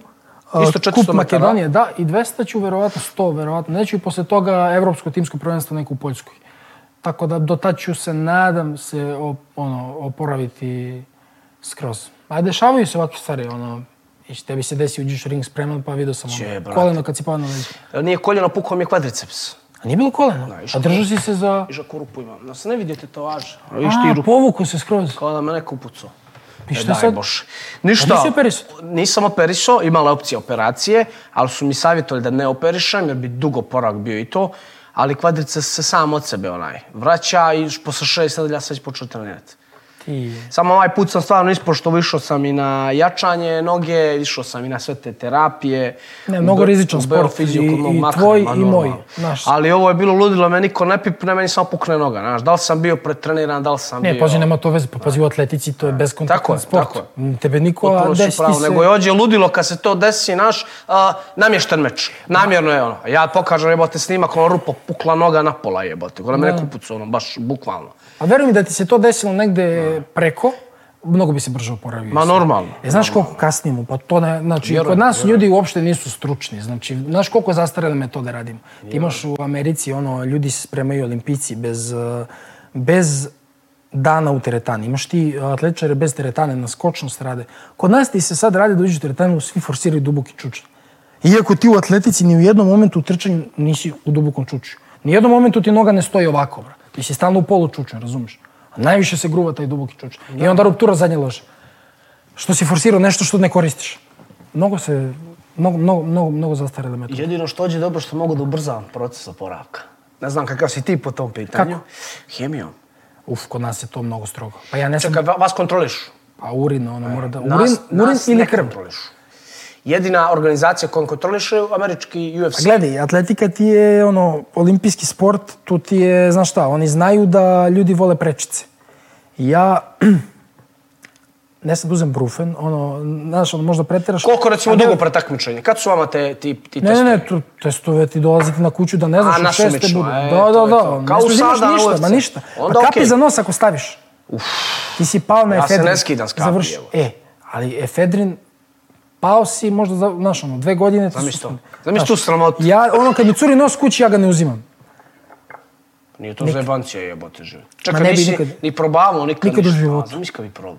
Speaker 1: Uh,
Speaker 2: Isto 400
Speaker 1: Kup
Speaker 2: metara.
Speaker 1: Makedonije, da, i 200 ću verovatno, 100 verovatno. Neću i posle toga evropsko timsko prvenstvo neko u Poljskoj. Tako da do tad ću se, nadam se, op, ono, oporaviti skroz. A dešavaju se ovakve stvari, ono, i tebi se desi, uđeš u ring spreman, pa vidio sam
Speaker 2: Je,
Speaker 1: ono,
Speaker 2: brate.
Speaker 1: koleno kad si pao na leđe.
Speaker 2: Evo, Nije koljeno pukao mi je kvadriceps.
Speaker 1: A nije bilo koleno, a držao si se za...
Speaker 2: Iža rupu imam. Da se ne vidi tetovaže. A vidiš ti
Speaker 1: A,
Speaker 2: rupu.
Speaker 1: povuku se skroz.
Speaker 2: Kao da me neko upucao.
Speaker 1: I
Speaker 2: E,
Speaker 1: šta
Speaker 2: daj
Speaker 1: sad?
Speaker 2: Bože. Ništa.
Speaker 1: A nisi operisao?
Speaker 2: Nisam operisao, imala je opcija operacije, ali su mi savjetovali da ne operišem, jer bi dugo porak bio i to. Ali kvadrice se sam od sebe onaj vraća i š- posle šest nedelja sam već počeo trenirati.
Speaker 1: Ti...
Speaker 2: Samo ovaj put sam stvarno ispoštovao, išao sam i na jačanje noge, išao sam i na sve te terapije.
Speaker 1: Ne, mnogo
Speaker 2: U be-
Speaker 1: rizičan
Speaker 2: u Beograd
Speaker 1: sport,
Speaker 2: fiziju kod
Speaker 1: i-
Speaker 2: mog
Speaker 1: i
Speaker 2: makara,
Speaker 1: tvoj
Speaker 2: ma
Speaker 1: i
Speaker 2: normalno.
Speaker 1: moj, znaš.
Speaker 2: Ali ovo je bilo ludilo, me niko ne pipne, meni samo pukne noga, znaš. Da li sam bio pretreniran, da li sam bio...
Speaker 1: Ne, pazi, nema to veze, pa pazi u atletici, to je
Speaker 2: Tako je,
Speaker 1: beskontaktan sport.
Speaker 2: tako
Speaker 1: Tebe niko
Speaker 2: Potpuno si
Speaker 1: desi
Speaker 2: pravo,
Speaker 1: ti se...
Speaker 2: nego je ođe ludilo kad se to desi, naš a, namješten meč. Namjerno je ono. Ja pokažem jebote snimak, ono rupo pukla noga na pola jebote. Kada me neko pucu, ono, baš bukvalno.
Speaker 1: A veruj mi da ti se to desilo negde preko, mnogo bi se brže oporavio.
Speaker 2: Ma
Speaker 1: Sve.
Speaker 2: normalno.
Speaker 1: E, znaš koliko kasnimo? Pa to ne, znači, kod nas ljudi uopšte nisu stručni. Znači, znaš koliko zastarele metode radimo? Ti imaš u Americi, ono, ljudi se spremaju olimpici bez, eh, bez dana u teretani. Imaš ti eh, atletičare bez teretane, na skočnost rade. Kod nas ti se sad radi da uđeš u teretanu, svi forsiraju duboki čučanj. Iako ti u atletici ni u jednom momentu u trčanju nisi u dubokom čučju. Ni u jednom momentu ti noga ne stoji ovako, bra. Ti si stalno u polu čučnju, razumiješ? A najviše se gruva taj duboki čučanj. I onda ruptura zadnje lože što si forsirao nešto što ne koristiš. Mnogo se, mnogo, mnogo, mnogo, mnogo zastarele metode.
Speaker 2: Jedino što dođe dobro što mogu da ubrzavam proces oporavka. Ne znam kakav si ti po tom pitanju.
Speaker 1: Kako?
Speaker 2: Hemijom.
Speaker 1: Uf, kod nas je to mnogo strogo. Pa ja ne sam,
Speaker 2: Čekaj, va- vas kontroliš.
Speaker 1: pa urin, ono mora da, urin,
Speaker 2: Nas,
Speaker 1: urin
Speaker 2: nas
Speaker 1: ili
Speaker 2: ne
Speaker 1: krv.
Speaker 2: kontrolišu. Jedina organizacija koja kontroliše je američki UFC.
Speaker 1: A Gledaj, atletika ti je ono, olimpijski sport, tu ti je, znaš šta, oni znaju da ljudi vole prečice. Ja, ne sad uzem brufen, ono, znaš, ono, možda preteraš.
Speaker 2: Koliko recimo
Speaker 1: A ne-
Speaker 2: dugo pre takmičenja? Kad su vama te, ti, ti
Speaker 1: Ne, ne,
Speaker 2: testovi?
Speaker 1: ne, tu testove ti dolaziti na kuću da ne znaš
Speaker 2: A,
Speaker 1: u šeste
Speaker 2: nasumično,
Speaker 1: budu.
Speaker 2: e,
Speaker 1: da,
Speaker 2: to
Speaker 1: da,
Speaker 2: je to.
Speaker 1: da.
Speaker 2: Kao
Speaker 1: ne
Speaker 2: u
Speaker 1: stužiraš
Speaker 2: sada na
Speaker 1: ništa,
Speaker 2: ulici.
Speaker 1: ma ništa.
Speaker 2: Onda
Speaker 1: pa kapi
Speaker 2: okej.
Speaker 1: za nos ako staviš. Ti si pao na
Speaker 2: Ja se
Speaker 1: efedrin.
Speaker 2: ne skidam s kapi,
Speaker 1: Završi.
Speaker 2: evo.
Speaker 1: E, ali efedrin, pao si možda, za, znaš ono, dve godine. ti
Speaker 2: Zamisli
Speaker 1: su-
Speaker 2: to. Zamisli
Speaker 1: znaš,
Speaker 2: tu sramotu.
Speaker 1: Ja, ono, kad mi curi nos kući, ja ga ne uzimam.
Speaker 2: Pa Nije to zajebancija jebote život. Čekaj,
Speaker 1: ne bi
Speaker 2: nisi
Speaker 1: nikad.
Speaker 2: ni probavao nikad,
Speaker 1: Nikad u
Speaker 2: ništa.
Speaker 1: životu.
Speaker 2: A, Zamisli kad bi probao.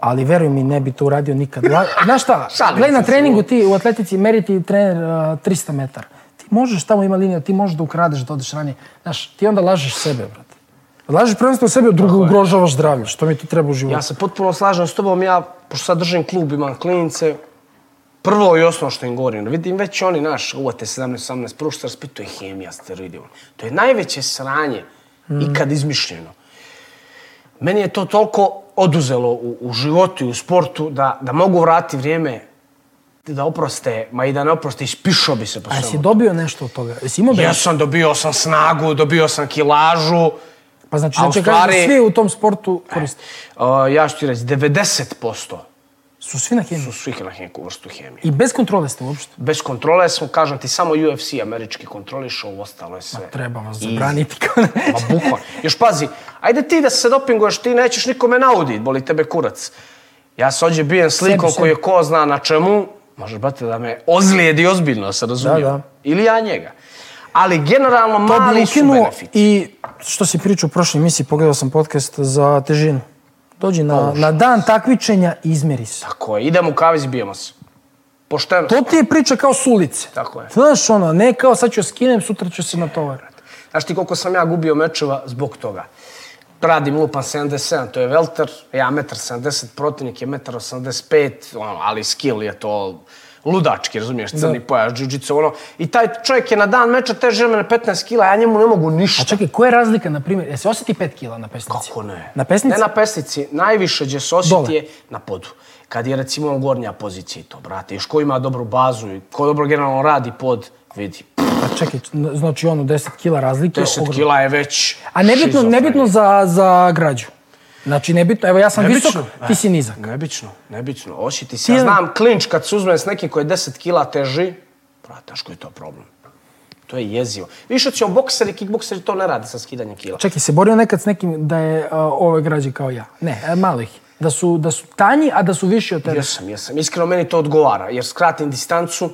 Speaker 1: Ali veruj mi, ne bi to uradio nikad. La, znaš šta,
Speaker 2: Šalim
Speaker 1: gledaj
Speaker 2: se
Speaker 1: na
Speaker 2: s
Speaker 1: treningu ti u atletici meri ti trener uh, 300 metara. Ti možeš, tamo ima linija, ti možeš da ukradeš, da odeš ranije. Znaš, ti onda lažeš sebe, brate. Lažeš prvenstveno sebe, drugo ugrožavaš zdravlje. Što mi to treba u životu?
Speaker 2: Ja se potpuno slažem s tobom, ja, pošto sad držim klub, imam klinice, prvo i osnovno što im govorim, vidim već oni naš, uvate 17-18, prvo što raspit, to je hemija, steroidi. ono. To je najveće sranje Mm. ikad izmišljeno. Meni je to toliko oduzelo u, u životu i u sportu da, da mogu vratiti vrijeme da oproste, ma i da ne oproste, ispišao bi se po
Speaker 1: A
Speaker 2: svemu.
Speaker 1: jesi dobio nešto od toga? Jesi imao
Speaker 2: Ja
Speaker 1: benefit?
Speaker 2: sam dobio sam snagu, dobio sam kilažu.
Speaker 1: Pa znači,
Speaker 2: A u
Speaker 1: znači stvari...
Speaker 2: stvari-
Speaker 1: da svi u tom sportu koriste.
Speaker 2: Uh, ja ću ti reći, 90%
Speaker 1: Su svi na hemiju.
Speaker 2: su svih na neku vrstu hemije.
Speaker 1: I bez kontrole ste uopšte.
Speaker 2: Bez kontrole smo, kažem ti, samo UFC američki kontroliše, ovo ostalo je sve.
Speaker 1: Treba vas
Speaker 2: Easy.
Speaker 1: zabraniti. kao ne.
Speaker 2: Ma bukvalno. Još pazi, ajde ti da se dopinguješ, ti nećeš nikome naudit, boli tebe kurac. Ja se ođe bijem slikom
Speaker 1: sebi.
Speaker 2: koji je ko zna na čemu, možeš brate da me ozlijedi ozbiljno, da se razumijem.
Speaker 1: da.
Speaker 2: Ili ja njega. Ali generalno
Speaker 1: To bi
Speaker 2: mali Pa su
Speaker 1: ukinuo
Speaker 2: benefiti.
Speaker 1: i što si pričao u prošloj emisiji, pogledao sam podcast za težinu. Dođi na, na dan takvičenja i izmeri se.
Speaker 2: Tako je, idemo u kavez i bijemo se. Pošteno.
Speaker 1: To ti je priča kao s ulice.
Speaker 2: Tako je.
Speaker 1: Znaš ono, ne kao sad ću joj skinem, sutra ću se natovarati.
Speaker 2: Znaš ti koliko sam ja gubio mečeva zbog toga? Radim lupan 77, to je velter, ja 1,70 m, protivnik je 1,85 m, ono, ali skill je to ludački, razumiješ, crni da. pojas, džiu ono. I taj čovjek je na dan meča teže mene 15 kila, ja njemu ne mogu
Speaker 1: A
Speaker 2: ništa.
Speaker 1: čekaj, koja je razlika, na primjer, jesi osjeti 5 kila na pesnici?
Speaker 2: Kako ne?
Speaker 1: Na pesnici?
Speaker 2: Ne na pesnici, najviše gdje se
Speaker 1: Dole.
Speaker 2: osjeti je na podu. Kad je recimo on gornja pozicija i to, brate, još ko ima dobru bazu i ko dobro generalno radi pod, vidi,
Speaker 1: Pa čekaj, n- znači ono, 10 kila razlike.
Speaker 2: 10
Speaker 1: ogromno.
Speaker 2: kila je već
Speaker 1: A nebitno,
Speaker 2: šizofrenija.
Speaker 1: nebitno za, za građu. Znači, nebitno, evo ja sam
Speaker 2: Nebično, E.
Speaker 1: visok,
Speaker 2: da.
Speaker 1: ti si nizak.
Speaker 2: Nebično, nebično. Osjeti se.
Speaker 1: Ti
Speaker 2: Ja
Speaker 1: je-
Speaker 2: znam klinč kad se uzme s nekim koji je 10 kila teži, brate, što je to problem? To je jezivo. Više će bokseri i kickbokseri to ne rade sa skidanjem kila.
Speaker 1: Čekaj, se borio nekad s nekim da je a, ove građe kao ja? Ne, e, malo ih. Da su, da su tanji, a da su viši od tebe.
Speaker 2: Jesam, jesam. Iskreno, meni to odgovara, jer skratim distancu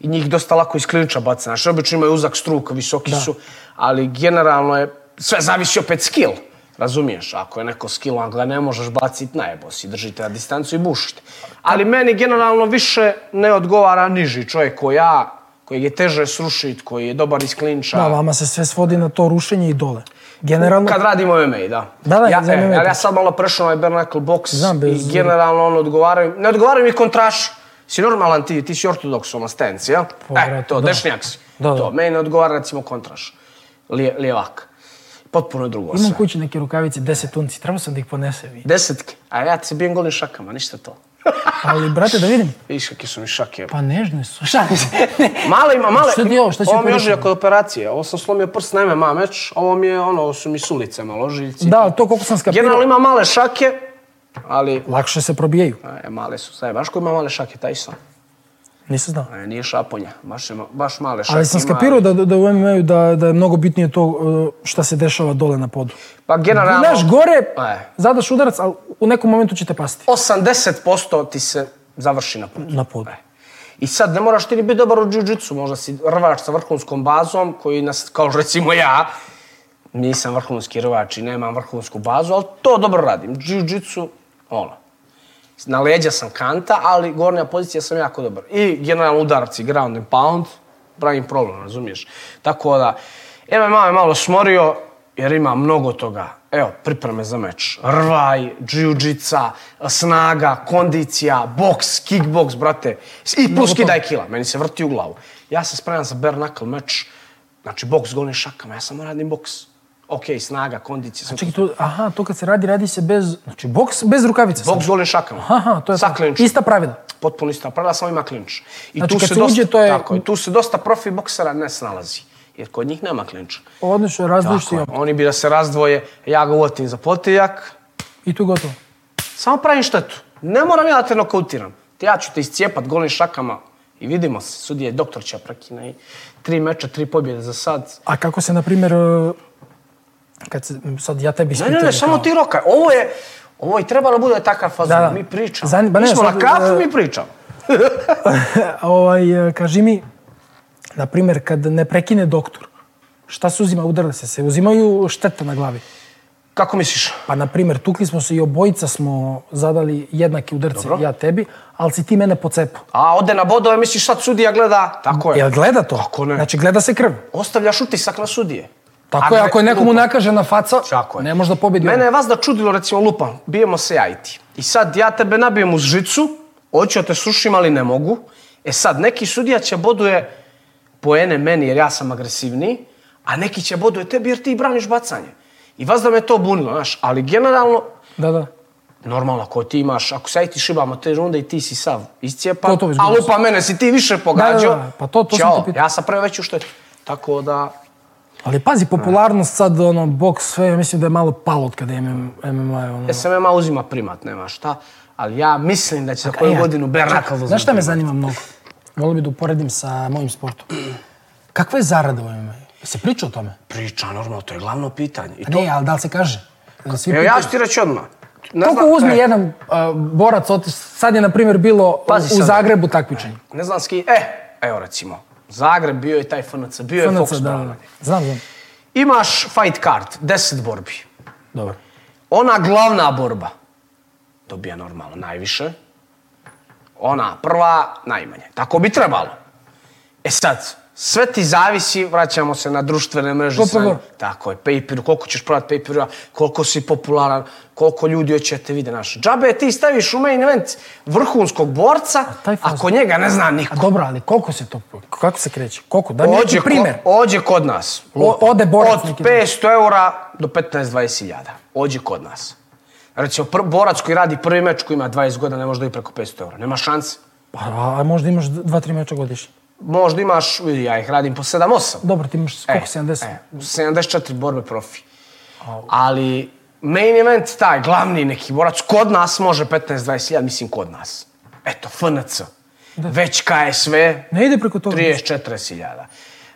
Speaker 2: i njih dosta lako iz klinča baca. Znaš, obično imaju uzak struk, visoki su, ali generalno je, sve zavisi opet skill. Razumiješ, ako je neko skillan, ga ne možeš bacit najebo si, držite na distancu i bušite. Ali meni generalno više ne odgovara niži čovjek ko ja, koji je teže srušit, koji je dobar iz klinča.
Speaker 1: Da, vama se sve svodi na to rušenje i dole. Generalno,
Speaker 2: Kad radimo MMA, da.
Speaker 1: Da, da,
Speaker 2: ja,
Speaker 1: za
Speaker 2: e,
Speaker 1: MMA
Speaker 2: ali ja
Speaker 1: pričam.
Speaker 2: sad malo prešao na ovaj Bernacle box
Speaker 1: Znam, bez-
Speaker 2: i generalno on odgovaraju, ne odgovaraju mi kontraši. Si normalan ti, ti si ortodoksualna stenci, jel?
Speaker 1: Pa,
Speaker 2: e,
Speaker 1: brate,
Speaker 2: to,
Speaker 1: da.
Speaker 2: dešnjak si.
Speaker 1: Da, da.
Speaker 2: To, meni ne odgovara recimo kontraš. Lije, lijevak. Potpuno je drugo
Speaker 1: imam
Speaker 2: sve.
Speaker 1: kući neke rukavice, 10 tunci, trebao sam da ih ponesem.
Speaker 2: Desetke, a ja ti se bijem golim šakama, ništa to.
Speaker 1: Ali, brate, da vidim.
Speaker 2: Vidiš kakve su mi šake.
Speaker 1: Pa nežne su. Šta?
Speaker 2: Malo ima, malo.
Speaker 1: Šta ti je ovo, šta si
Speaker 2: Ovo mi je
Speaker 1: operisao?
Speaker 2: ožiljak od operacije. Ovo sam slomio prst na MMA meč. Ovo mi je, ono, ovo su mi sulice malo, ožiljci.
Speaker 1: da, ali to koliko sam skapirao,
Speaker 2: Generalno ima male šake, ali
Speaker 1: lakše se probijaju.
Speaker 2: E, male su, sad, baš ko ima male šake, taj sam.
Speaker 1: Nisam znao.
Speaker 2: E, nije šaponja, baš, ima, baš male šake.
Speaker 1: Ali sam
Speaker 2: ima.
Speaker 1: skapirao da, da u MMA-u da, da je mnogo bitnije to uh, šta se dešava dole na podu.
Speaker 2: Pa generalno...
Speaker 1: Gledaš gore,
Speaker 2: E.
Speaker 1: zadaš udarac, ali u nekom momentu će te pasti.
Speaker 2: 80% ti se završi na putu.
Speaker 1: Na podu.
Speaker 2: I sad ne moraš ti ni biti dobar u džiu-jitsu, možda si rvač sa vrhunskom bazom koji nas, kao recimo ja, nisam vrhunski rvač i nemam vrhunsku bazu, ali to dobro radim. Jiu-jitsu, ono. Na leđa sam kanta, ali gornja pozicija sam jako dobar. I generalno udarci, ground and pound, pravim problem, razumiješ? Tako da, MMA me malo smorio, jer ima mnogo toga. Evo, pripreme za meč. Rvaj, džiu-džica, snaga, kondicija, boks, kickboks, brate. I plus kidaj kila, meni se vrti u glavu. Ja se spremam za bare knuckle meč, znači boks golim šakama, ja samo radim boks. Ok, snaga, kondicija, sam
Speaker 1: Čekaj, to, aha, to kad se radi, radi se bez, znači boks bez rukavice. samo.
Speaker 2: Boks golim šakama.
Speaker 1: Aha, to je
Speaker 2: Sa
Speaker 1: to.
Speaker 2: klinčem.
Speaker 1: Ista pravila.
Speaker 2: Potpuno ista pravila, samo ima klinč. I
Speaker 1: Znači,
Speaker 2: tu
Speaker 1: kad
Speaker 2: se
Speaker 1: se
Speaker 2: dosta,
Speaker 1: uđe, to je-
Speaker 2: Tako, i tu se dosta profi boksera ne snalazi. Jer kod njih nema klinča.
Speaker 1: Odlično, razliš
Speaker 2: Tako je. Oni bi da se razdvoje, ja ga uvotim za potijak,
Speaker 1: i tu je gotovo.
Speaker 2: samo pravim štetu. Ne moram ja da te nokautiram. Te ja ću te iscijepat golim šakama i vidimo se. Sudije, doktor će prekina i tri meča, tri pobjede za sad.
Speaker 1: A kako se, na primjer, e, kad se, m, sad ja tebi
Speaker 2: Ne, ne, ne, samo ti rokaj. Ovo je, ovo i trebalo bude takav fazon.
Speaker 1: Da, da.
Speaker 2: Mi pričamo.
Speaker 1: Zanim- ba ne,
Speaker 2: mi smo
Speaker 1: sad,
Speaker 2: na kafu,
Speaker 1: e,
Speaker 2: mi pričamo.
Speaker 1: ovaj, e, kaži mi, na primjer, kad ne prekine doktor, šta se uzima, udarili se se, uzimaju štete na glavi.
Speaker 2: Kako misliš?
Speaker 1: Pa, na primjer, tukli smo se i obojica smo zadali jednake udarce,
Speaker 2: Dobro.
Speaker 1: ja tebi, ali si ti mene pocepao.
Speaker 2: A ode na bodove, misliš sad sudija gleda? Tako je.
Speaker 1: Jel gleda to?
Speaker 2: Kako ne?
Speaker 1: Znači, gleda se krv.
Speaker 2: Ostavljaš utisak na sudije.
Speaker 1: Tako
Speaker 2: A
Speaker 1: je,
Speaker 2: ne-
Speaker 1: ako je nekomu
Speaker 2: lupa.
Speaker 1: nakažena faca,
Speaker 2: Tako je.
Speaker 1: ne može da pobedi.
Speaker 2: Mene je vas da čudilo, recimo, lupa, bijemo se ja i ti. I sad ja tebe nabijem uz žicu, hoću da te srušim, ali ne mogu. E sad, neki sudija će boduje poene meni jer ja sam agresivniji, a neki će boduje tebi jer ti braniš bacanje. I vas da me to bunilo, znaš, ali generalno,
Speaker 1: Da, da.
Speaker 2: normalno, ako ti imaš, ako se ja i ti šibamo te runde i ti si sav iscijepan,
Speaker 1: Gotovo,
Speaker 2: a
Speaker 1: izgubio
Speaker 2: lupa mene si ti više pogađao,
Speaker 1: da, da, pa to- to sam
Speaker 2: ćao,
Speaker 1: te pitao.
Speaker 2: ja sam preo veću štetu. Tako da,
Speaker 1: Ali pazi, popularnost sad, ono, boks, sve, ja mislim da je malo palo od kada je MM MMA, je ono...
Speaker 2: SMA uzima primat, nema šta, ali ja mislim da će za koju
Speaker 1: E, ja-
Speaker 2: godinu Bernakov uzme
Speaker 1: Znaš šta me
Speaker 2: primat.
Speaker 1: zanima mnogo? Volio bi da uporedim sa mojim sportom. Kakva je zarada u MMA? Se priča o tome?
Speaker 2: Priča, normalno, to je glavno pitanje. I
Speaker 1: Pa
Speaker 2: to,
Speaker 1: ne, ali da li se kaže? Da svi
Speaker 2: evo,
Speaker 1: pitaju.
Speaker 2: ja ću ti reći odmah. Ne
Speaker 1: Koliko
Speaker 2: znam-
Speaker 1: uzme
Speaker 2: e,
Speaker 1: jedan a, borac, od, sad je, na primjer, bilo
Speaker 2: Pazi
Speaker 1: u
Speaker 2: sad.
Speaker 1: Zagrebu takmičenje.
Speaker 2: Ne znam s kim, e, evo recimo, Zagreb bio je taj FNC, bio je
Speaker 1: Crnaca,
Speaker 2: Fokus
Speaker 1: da,
Speaker 2: Brana.
Speaker 1: da. Znam, znam.
Speaker 2: Imaš fight card, 10 borbi.
Speaker 1: Dobro.
Speaker 2: Ona glavna borba dobija normalno najviše, ona prva najmanje. Tako bi trebalo. E sad, sve ti zavisi, vraćamo se na društvene mreže.
Speaker 1: Popolo.
Speaker 2: sanje. Tako je, pay-per, koliko ćeš prodati pay-per, koliko si popularan, koliko ljudi hoće da te vide naš. Džabe, ti staviš u main event vrhunskog borca,
Speaker 1: taj fazon-
Speaker 2: ako njega ne zna
Speaker 1: A
Speaker 2: niko.
Speaker 1: dobro, ali koliko se to, kako se kreće? Koliko? Da mi
Speaker 2: Ođe,
Speaker 1: Pa neki primjer.
Speaker 2: ko, ođe kod nas.
Speaker 1: O- ode borac neki
Speaker 2: Od
Speaker 1: dan.
Speaker 2: 500 eura do 15-20 hiljada. Ođe kod nas. Recimo, pr- borac koji radi prvi meč koji ima 20 godina ne može da i preko 500 eura. Nema šanse.
Speaker 1: Pa, a, a možda imaš dva, tri meča godišnje.
Speaker 2: Možda imaš, vidi, ja ih radim po 7-8.
Speaker 1: Dobro, ti imaš koliko, 70?
Speaker 2: E, 74 borbe profi. Ali main event, taj glavni neki borac, kod nas može 15-20 hiljada, mislim kod nas. Eto, FNC. Već KSV,
Speaker 1: Ne ide preko toga.
Speaker 2: 30-40 hiljada.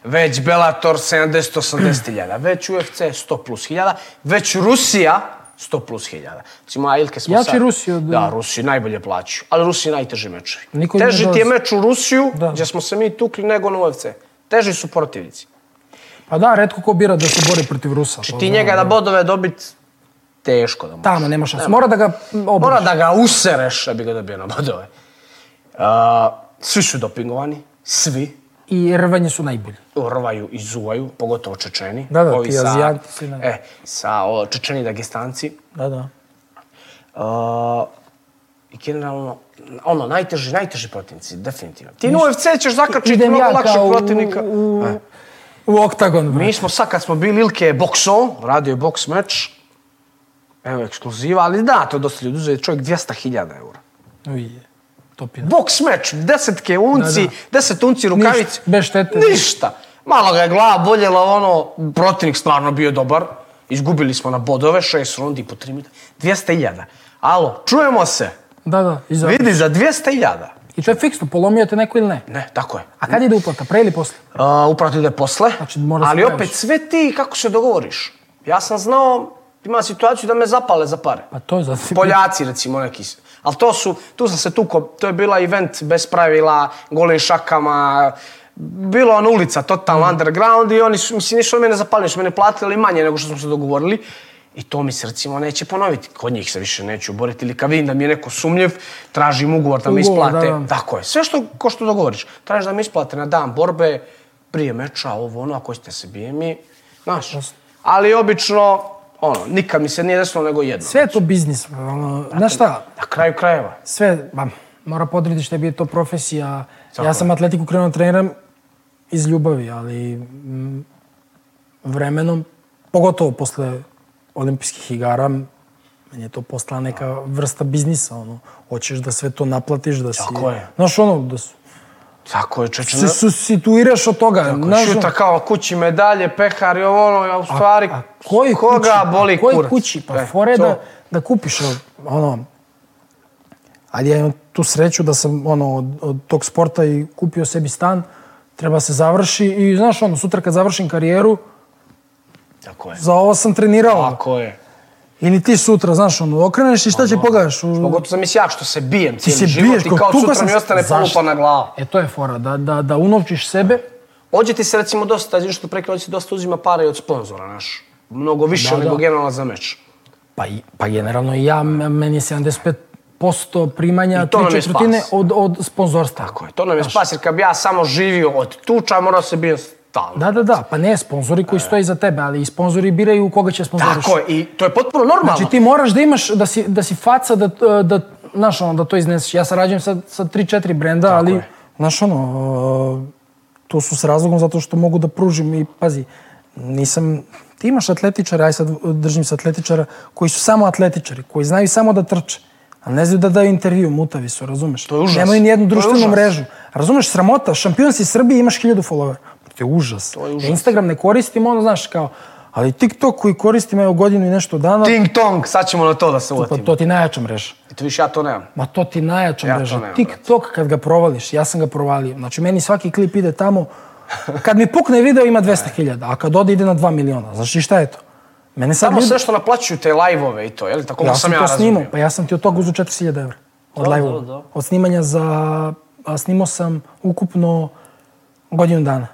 Speaker 2: Već Bellator 70-80 hiljada. Već UFC 100 plus hiljada. Već Rusija 100 plus hiljada. Recimo, Ailke smo
Speaker 1: Jači
Speaker 2: sad...
Speaker 1: Rusi od-
Speaker 2: Da, Rusiju najbolje plaću. Ali Rusiji najteži mečevi.
Speaker 1: Niko im ne
Speaker 2: Teži ti
Speaker 1: dolazi.
Speaker 2: je meč u Rusiju,
Speaker 1: Da.
Speaker 2: gdje smo se mi tukli, nego na UFC. Teži su protivnici. Znači,
Speaker 1: Pa da, redko ko bira da se bori protiv Rusa. to
Speaker 2: Ti
Speaker 1: znam.
Speaker 2: njega na bodove dobit teško da može.
Speaker 1: Tamo, nema šans. Mora da ga obriš.
Speaker 2: Mora da ga usereš da bi ga dobio na bodove. Uh, svi su dopingovani, svi.
Speaker 1: I rvanje su najbolji.
Speaker 2: rvaju i zuvaju, pogotovo Čečeni.
Speaker 1: Da, da,
Speaker 2: Ovi
Speaker 1: ti
Speaker 2: sa-
Speaker 1: Azijanti, svi, da.
Speaker 2: E, sa o, Čečeni Dagestanci.
Speaker 1: Da, da.
Speaker 2: Uh, I generalno, ono, najteži, najteži protivnici, definitivno. Ti na UFC ćeš zakačiti
Speaker 1: Idem
Speaker 2: mnogo
Speaker 1: ja
Speaker 2: lakše
Speaker 1: kao u-
Speaker 2: protivnika.
Speaker 1: u-
Speaker 2: E.
Speaker 1: U oktagon, bro.
Speaker 2: Mi smo sad kad smo bili Ilke je bokso, radio je boks meč, evo ekskluziva, ali da, to je dosta ljudi uzeli, čovjek 200.000 eura.
Speaker 1: Uje, topina.
Speaker 2: Boks meč, 10 unci,
Speaker 1: Da,
Speaker 2: 10 unci rukavic.
Speaker 1: Ništa, bez štete.
Speaker 2: Ništa. Malo ga je glava boljela, ono, protivnik stvarno bio dobar. Izgubili smo na bodove, 6 rundi po 3 minuta. 200.000. Alo, čujemo se.
Speaker 1: Da, da, iza.
Speaker 2: Vidi, za 200.000.
Speaker 1: I to je fiksno, polomio te neko ili ne.
Speaker 2: Ne, tako je.
Speaker 1: A kad ide uplata, pre ili posle?
Speaker 2: A, upravo ide posle,
Speaker 1: Znači, mora se
Speaker 2: ali
Speaker 1: praviš.
Speaker 2: opet sve ti kako se dogovoriš. Ja sam znao, ima situaciju da me zapale za pare.
Speaker 1: Pa to je za...
Speaker 2: Poljaci recimo neki. s- Ali to su, tu sam se tuko, to je bila event bez pravila, golim šakama, bilo on ulica,
Speaker 1: Mm.
Speaker 2: totalno underground i oni su, mislim, nisu oni mene zapalili, nisu mene platili manje nego što smo se dogovorili. I to mi se recimo neće ponoviti. Kod njih se više neću boriti ili kad vidim da mi je neko sumnjiv, tražim ugovor da mi
Speaker 1: Ugovor,
Speaker 2: isplate.
Speaker 1: da, da.
Speaker 2: Tako je. Sve što, ko što dogovoriš. Tražiš da mi isplate na dan borbe, prije meča, ovo ono, ako ste se bijemi, znaš. Ali obično, ono, nikad mi se nije desilo nego jedno.
Speaker 1: Sve je to biznis, bro, ono, znaš šta,
Speaker 2: Na kraju krajeva.
Speaker 1: sve, ba, mora podrediti što je to profesija.
Speaker 2: Tako
Speaker 1: ja
Speaker 2: je.
Speaker 1: sam atletiku krenuo da treniram iz ljubavi, ali mm, vremenom, pogotovo posle olimpijskih igara, meni je to postala neka vrsta biznisa, ono, hoćeš da sve to naplatiš, da si...
Speaker 2: Tako je.
Speaker 1: Znaš, ono, da su,
Speaker 2: Tako je,
Speaker 1: se
Speaker 2: čečena.
Speaker 1: susituiraš od toga.
Speaker 2: е.
Speaker 1: znaš, ono-
Speaker 2: Šuta kao kući medalje, pehar i ovo ono, a u stvari
Speaker 1: a koji
Speaker 2: koga
Speaker 1: kući,
Speaker 2: boli
Speaker 1: koji
Speaker 2: kurac.
Speaker 1: kući? Pa
Speaker 2: E,
Speaker 1: fore
Speaker 2: to.
Speaker 1: da, da kupiš ono, ono... Ali ja imam tu sreću da sam ono, od, od tog sporta i kupio sebi stan, treba se završi i znaš ono, sutra kad završim karijeru,
Speaker 2: Tako je.
Speaker 1: za ovo sam trenirao. ono.
Speaker 2: Tako je.
Speaker 1: Ili ti sutra, znaš ono, okreneš i šta će pogledaš? U-
Speaker 2: Pogotovo sam mislim ja što se bijem
Speaker 1: Ti
Speaker 2: cijeli
Speaker 1: se
Speaker 2: život
Speaker 1: biješ,
Speaker 2: i
Speaker 1: ko-
Speaker 2: kao
Speaker 1: tukao
Speaker 2: sutra
Speaker 1: sam
Speaker 2: mi
Speaker 1: se-
Speaker 2: ostane
Speaker 1: Zašto?
Speaker 2: polupa na glavu.
Speaker 1: E, to je fora, da, da, da unovčiš sebe,
Speaker 2: Ođe ti se recimo dosta, znaš što prekao, ođe se dosta uzima para i od sponzora, naš. Mnogo više
Speaker 1: Da, da.
Speaker 2: nego generalno za meč.
Speaker 1: Pa, i- pa generalno i ja, m- meni je 75% primanja,
Speaker 2: I to nam
Speaker 1: tri
Speaker 2: je
Speaker 1: četvrtine
Speaker 2: spas.
Speaker 1: od, od sponzorstva.
Speaker 2: Tako je. To nam je spas, jer kad bi ja samo živio od tuča, morao se bijem stalno.
Speaker 1: Da, da, da, pa ne, sponzori koji stoje iza tebe, ali i sponzori biraju koga će sponzoriš.
Speaker 2: E. Tako je, i to je potpuno normalno.
Speaker 1: Znači ti moraš da imaš, da si, da si faca, da, da, znaš ono, da to izneseš. Ja sarađujem sa, sa 3-4 brenda, ali,
Speaker 2: je.
Speaker 1: znaš ono, e, to su s razlogom zato što mogu da pružim i, pazi, nisam, ti imaš atletičara, aj sad držim se atletičara, koji su samo atletičari, koji znaju samo da trče, a ne znaju da daju intervju, mutavi su, razumeš?
Speaker 2: To je užas.
Speaker 1: Nemaju ni jednu
Speaker 2: To je
Speaker 1: društvenu
Speaker 2: užas.
Speaker 1: mrežu. Razumeš, sramota, šampion si Srbije, imaš hiljadu followera. Pa To je užas. To
Speaker 2: je užas.
Speaker 1: Instagram ne koristim, ono, znaš, kao, ali TikTok koji koristim evo godinu i nešto dana,
Speaker 2: Ting tong, sad ćemo na to da se
Speaker 1: Pa
Speaker 2: uvatimo.
Speaker 1: to ti najjača mreža.
Speaker 2: Eto više ja to nemam.
Speaker 1: Ma to ti najjača
Speaker 2: Ja to
Speaker 1: mreža.
Speaker 2: nemam,
Speaker 1: TikTok kad ga provališ, ja sam ga provalio. Znači meni svaki klip ide tamo, kad mi pukne video ima 200.000, a kad ode ide na 2 miliona. Znači šta je to? Mene sad
Speaker 2: Samo
Speaker 1: ljudi...
Speaker 2: sve što naplaćuju te live-ove i to, je li? Tako
Speaker 1: Ja
Speaker 2: ja sam
Speaker 1: sam
Speaker 2: ja
Speaker 1: to snimao,
Speaker 2: razumio.
Speaker 1: pa ja sam ti od toga uzeo 4.000 evra. Od
Speaker 2: Da,
Speaker 1: live-ova.
Speaker 2: da, da.
Speaker 1: Od snimanja za... A snimao sam ukupno godinu dana.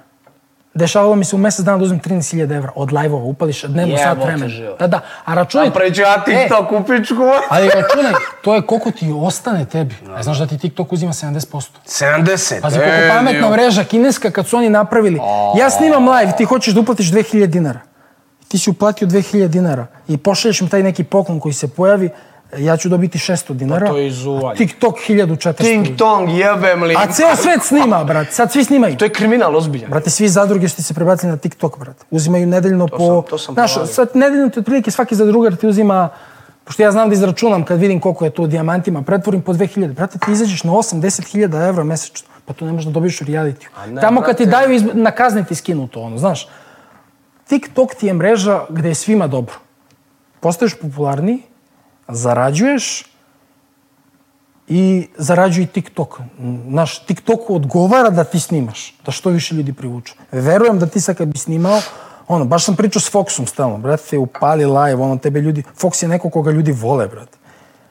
Speaker 3: Dešavalo mi se u mesec dana da uzmem 13.000 evra od live-ova, upališ dnevno
Speaker 2: Jebote
Speaker 3: sat vremena.
Speaker 2: život.
Speaker 3: Da, da, a računaj...
Speaker 2: Napraviću
Speaker 1: E,
Speaker 2: ja TikTok u pičku.
Speaker 1: Ali računaj, to je koliko ti ostane tebi. A znaš da ti TikTok uzima 70%.
Speaker 2: 70.
Speaker 1: Pazi koliko pametna mreža kineska kad su oni napravili. Ja snimam live, ti hoćeš da uplatiš 2000 dinara. Ti si uplatio 2000 dinara i pošalješ mi taj neki poklon koji se pojavi, ja ću dobiti 600 dinara.
Speaker 4: Pa to je izuvanje.
Speaker 1: a TikTok 1400.
Speaker 2: Ting tong, jebem li.
Speaker 1: A ceo svet snima, brate. Sad svi snimaju.
Speaker 2: To je kriminal ozbiljan.
Speaker 1: Brate, svi zadruge što ti se prebacili na TikTok, brate. Uzimaju nedeljno po...
Speaker 2: sam- to sam
Speaker 1: znaš,
Speaker 2: provalio.
Speaker 1: sad nedeljno ti otprilike svaki zadrugar ti uzima... Pošto ja znam da izračunam kad vidim koliko je to u dijamantima, pretvorim po 2000. Brate, ti izađeš na 8-10 hiljada evra mesečno. Pa tu ne možeš da dobiješ u realitiju.
Speaker 2: ne,
Speaker 1: Tamo kad ti
Speaker 2: brate.
Speaker 1: daju, iz... na kazne ti skinu to, ono, znaš. TikTok ti je mreža gde je svima dobro. Postaješ popularniji, zarađuješ, i zarađuje i TikTok. Naš TikTok odgovara da ti snimaš, da što više ljudi privuče. Verujem da ti sad kad bi snimao, ono, baš sam pričao s Foxom stalno, brate, upali live, ono, tebe ljudi, Fox je neko koga ljudi vole, brate.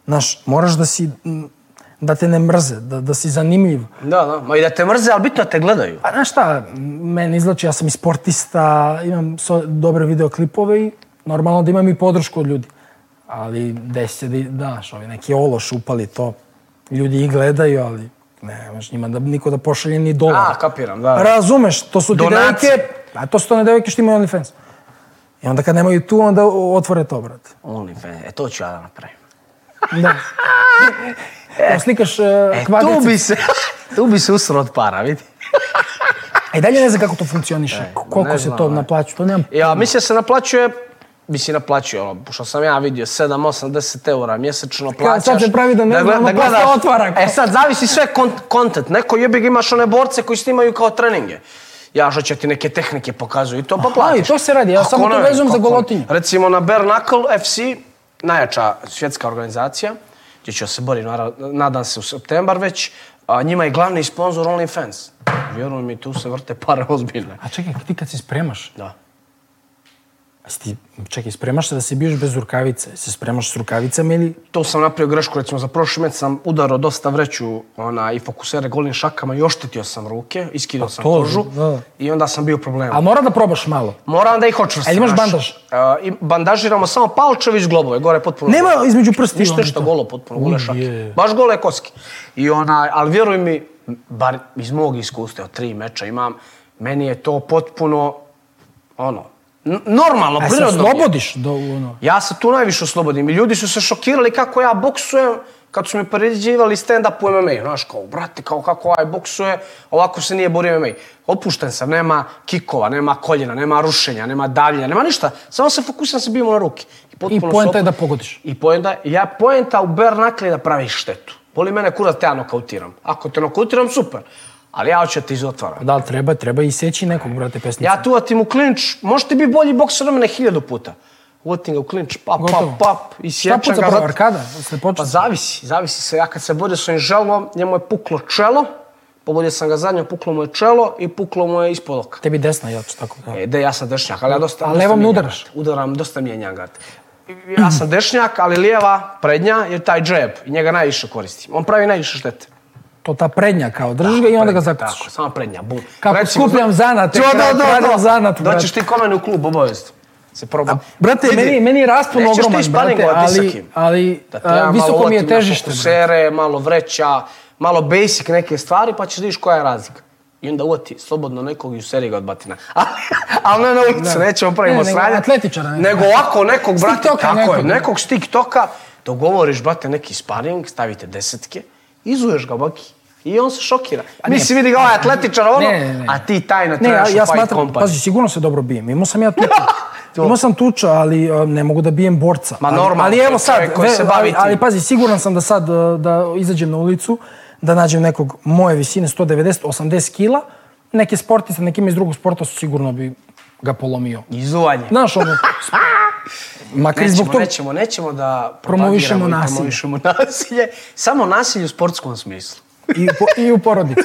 Speaker 1: Znaš, moraš da si, m, da te ne mrze, da, da si zanimljiv.
Speaker 2: Da, da. Ma i da te mrze, ali bitno da te gledaju.
Speaker 1: A Pa znaš šta, mene izlači, ja sam i sportista, imam so, dobre videoklipove i normalno da imam i podršku od ljudi. Ali desi se da, i- znaš, ovi neki ološ upali to. Ljudi i gledaju, ali ne, znaš, njima da, niko da pošalje ni dolar.
Speaker 2: A, kapiram, da.
Speaker 1: Razumeš, to su ti
Speaker 2: Donacije.
Speaker 1: devojke, a to su to one devojke što imaju OnlyFans. I onda kad nemaju tu, onda otvore to, brate.
Speaker 2: OnlyFans, e to ću ja da napravim.
Speaker 1: Da. Evo, slikaš uh,
Speaker 2: E,
Speaker 1: kvadrice.
Speaker 2: tu bi se, tu bi se usro od para, vidi.
Speaker 1: A i E, dalje ne znam kako to funkcioniše,
Speaker 2: E, ne
Speaker 1: koliko se
Speaker 2: znam,
Speaker 1: to
Speaker 2: ne.
Speaker 1: naplaću, to nemam
Speaker 2: Ja, mislim da se naplaćuje, mislim naplaćuje, ono, što sam ja vidio, 7, 8, 10 eura mjesečno plaćaš.
Speaker 1: sad se pravi da ne zna,
Speaker 2: gled-
Speaker 1: ono posle
Speaker 2: gledaš-
Speaker 1: otvara.
Speaker 2: E sad, zavisi sve kont- kontent. Neko jebi ga imaš one borce koji snimaju kao treninge. Ja što će ti neke tehnike pokazuju i to pa platiš.
Speaker 1: i to se radi, ja
Speaker 2: Kako
Speaker 1: samo to
Speaker 2: ne,
Speaker 1: vezujem za
Speaker 2: kako ne.
Speaker 1: golotinju.
Speaker 2: Recimo na Bare Knuckle FC, najjača svjetska organizacija, gdje će se boriti, naravno, nadam se, u septembar već, a, njima je glavni sponsor OnlyFans. Vjeruj mi, tu se vrte pare ozbiljne.
Speaker 1: A čekaj, ti kad se spremaš,
Speaker 2: Da.
Speaker 1: a si ti, čekaj, spremaš se da se biješ bez rukavice? Se spremaš s rukavicama ili...
Speaker 2: to sam napravio grešku, recimo za prošli meč sam udarao dosta vreću ona, i fokusere golim šakama i oštetio sam ruke, iskinuo
Speaker 1: Pa
Speaker 2: sam
Speaker 1: to,
Speaker 2: kožu
Speaker 1: da.
Speaker 2: i onda sam bio u problemu.
Speaker 1: A mora da probaš malo.
Speaker 2: Moram da ih očvrstim.
Speaker 1: Ali imaš
Speaker 2: znaš.
Speaker 1: bandaž?
Speaker 2: Uh, i bandažiramo samo palčevi iz globove, gore potpuno.
Speaker 1: Nema
Speaker 2: golo.
Speaker 1: između prsti
Speaker 2: Ništa
Speaker 1: ono
Speaker 2: što
Speaker 1: to.
Speaker 2: golo potpuno, gole šake.
Speaker 1: je.
Speaker 2: Baš gole koske. I ona, ali vjeruj mi, bar iz mog iskustva, od tri meča imam, meni je to potpuno, ono, n- normalno,
Speaker 1: A se
Speaker 2: prirodno. mi je.
Speaker 1: oslobodiš do ono...
Speaker 2: Ja se tu najviše oslobodim i ljudi su se šokirali kako ja boksujem kad su me poređivali stand-up u MMA. Znaš, kao, brate, kao kako ovaj boksuje, ovako se nije borio MMA. Opušten sam, nema kikova, nema koljena, nema rušenja, nema davljenja, nema ništa. Samo se fokusiram se bijemo na ruke. potpuno
Speaker 1: I poenta
Speaker 2: se opu-
Speaker 1: je da pogodiš.
Speaker 2: I poenta, ja poenta u bernakli da praviš štetu. Boli mene kurat te ja nokautiram. Ako te nokautiram, super. Ali ja hoću da te izotvaram.
Speaker 1: Da, ali treba, treba i seći nekog, brate, pesnica.
Speaker 2: Ja tu uvatim u klinč, možete bi bolji bokser od mene hiljadu puta. Uvatim ga u klinč, pap,
Speaker 1: Gotovo.
Speaker 2: pap, pap, i
Speaker 1: Šta
Speaker 2: sjećam
Speaker 1: puca
Speaker 2: ga.
Speaker 1: prvo,
Speaker 2: zato-
Speaker 1: arkada? Ste
Speaker 2: Pa
Speaker 1: počeli?
Speaker 2: zavisi, zavisi se. Ja kad se borio s ovim želvom, njemu je puklo čelo, pogodio sam ga zadnjom, puklo mu je čelo i puklo mu je ispod oka.
Speaker 1: Tebi desna jače, tako da.
Speaker 2: E, da, ja sam dešnjak, ali ja dosta...
Speaker 1: A
Speaker 2: dosta
Speaker 1: levom ne
Speaker 2: mijenjam
Speaker 1: udaraš?
Speaker 2: gat. Udaram, dosta mijenjam gat. Ja sam dešnjak, ali lijeva, prednja, je taj džeb. I njega najviše koristim. On pravi najviše štete.
Speaker 1: To ta prednja kao, držiš ga i onda ga zakucaš.
Speaker 2: Tako, samo prednja, bum.
Speaker 1: Kako skupljam zanate,
Speaker 2: Jo, da,
Speaker 1: kako
Speaker 2: da, da.
Speaker 1: pravim zanat, brate.
Speaker 2: Doćeš ti ko mene u klub, obavezno. Se probam.
Speaker 1: Brate,
Speaker 2: Vidi,
Speaker 1: meni, meni je raspon
Speaker 2: nećeš ti
Speaker 1: ogroman, brate,
Speaker 2: španingovat ni sa
Speaker 1: ali,
Speaker 2: kim.
Speaker 1: ali
Speaker 2: Da te
Speaker 1: a,
Speaker 2: ja malo
Speaker 1: visoko mi je
Speaker 2: uvatim na
Speaker 1: težište. brate.
Speaker 2: Fokusere, malo vreća, malo basic neke stvari, pa ćeš da vidiš koja je razlika. I onda uvati slobodno nekog i useri ga od batina. Ali, ali ne na ulicu,
Speaker 1: Da.
Speaker 2: nećemo pravimo
Speaker 1: Ne, nego
Speaker 2: sranja.
Speaker 1: atletičara nekog.
Speaker 2: Nego ovako nekog,
Speaker 1: S
Speaker 2: brate,
Speaker 1: TikToka
Speaker 2: tako je,
Speaker 1: nekog.
Speaker 2: nekog s TikToka, dogovoriš, brate, neki sparing, stavite desetke, izuješ ga, baki. I on se šokira. Mislim, vidi ga ovaj atletičar, ono,
Speaker 1: Ne, ne, ne.
Speaker 2: a ti tajno
Speaker 1: Ne, ja,
Speaker 2: trenaš u
Speaker 1: ja
Speaker 2: Fight
Speaker 1: smatram,
Speaker 2: Company.
Speaker 1: pazi, sigurno se dobro bijem. Imao sam ja tuča. Imao sam tuča, ali e, ne mogu da bijem borca.
Speaker 2: Ma
Speaker 1: Ali-
Speaker 2: normalno,
Speaker 1: Ali,
Speaker 2: to je
Speaker 1: evo sad,
Speaker 2: čovjek koji
Speaker 1: ve-
Speaker 2: se bavi
Speaker 1: ali, ali
Speaker 2: tim.
Speaker 1: pazi, siguran sam da sad, e, da izađem na ulicu, da nađem nekog moje visine 190, 80 kila, neke sportiste, nekim iz drugog sporta su sigurno bi ga polomio.
Speaker 2: Izuvanje.
Speaker 1: Znaš, ono, makar i
Speaker 2: Nećemo,
Speaker 1: zbog toga,
Speaker 2: nećemo, nećemo da
Speaker 1: Promovišemo
Speaker 2: propagiramo i
Speaker 1: nasilje.
Speaker 2: promovišemo nasilje. Samo nasilje u sportskom smislu.
Speaker 1: i, u po- i u porodici.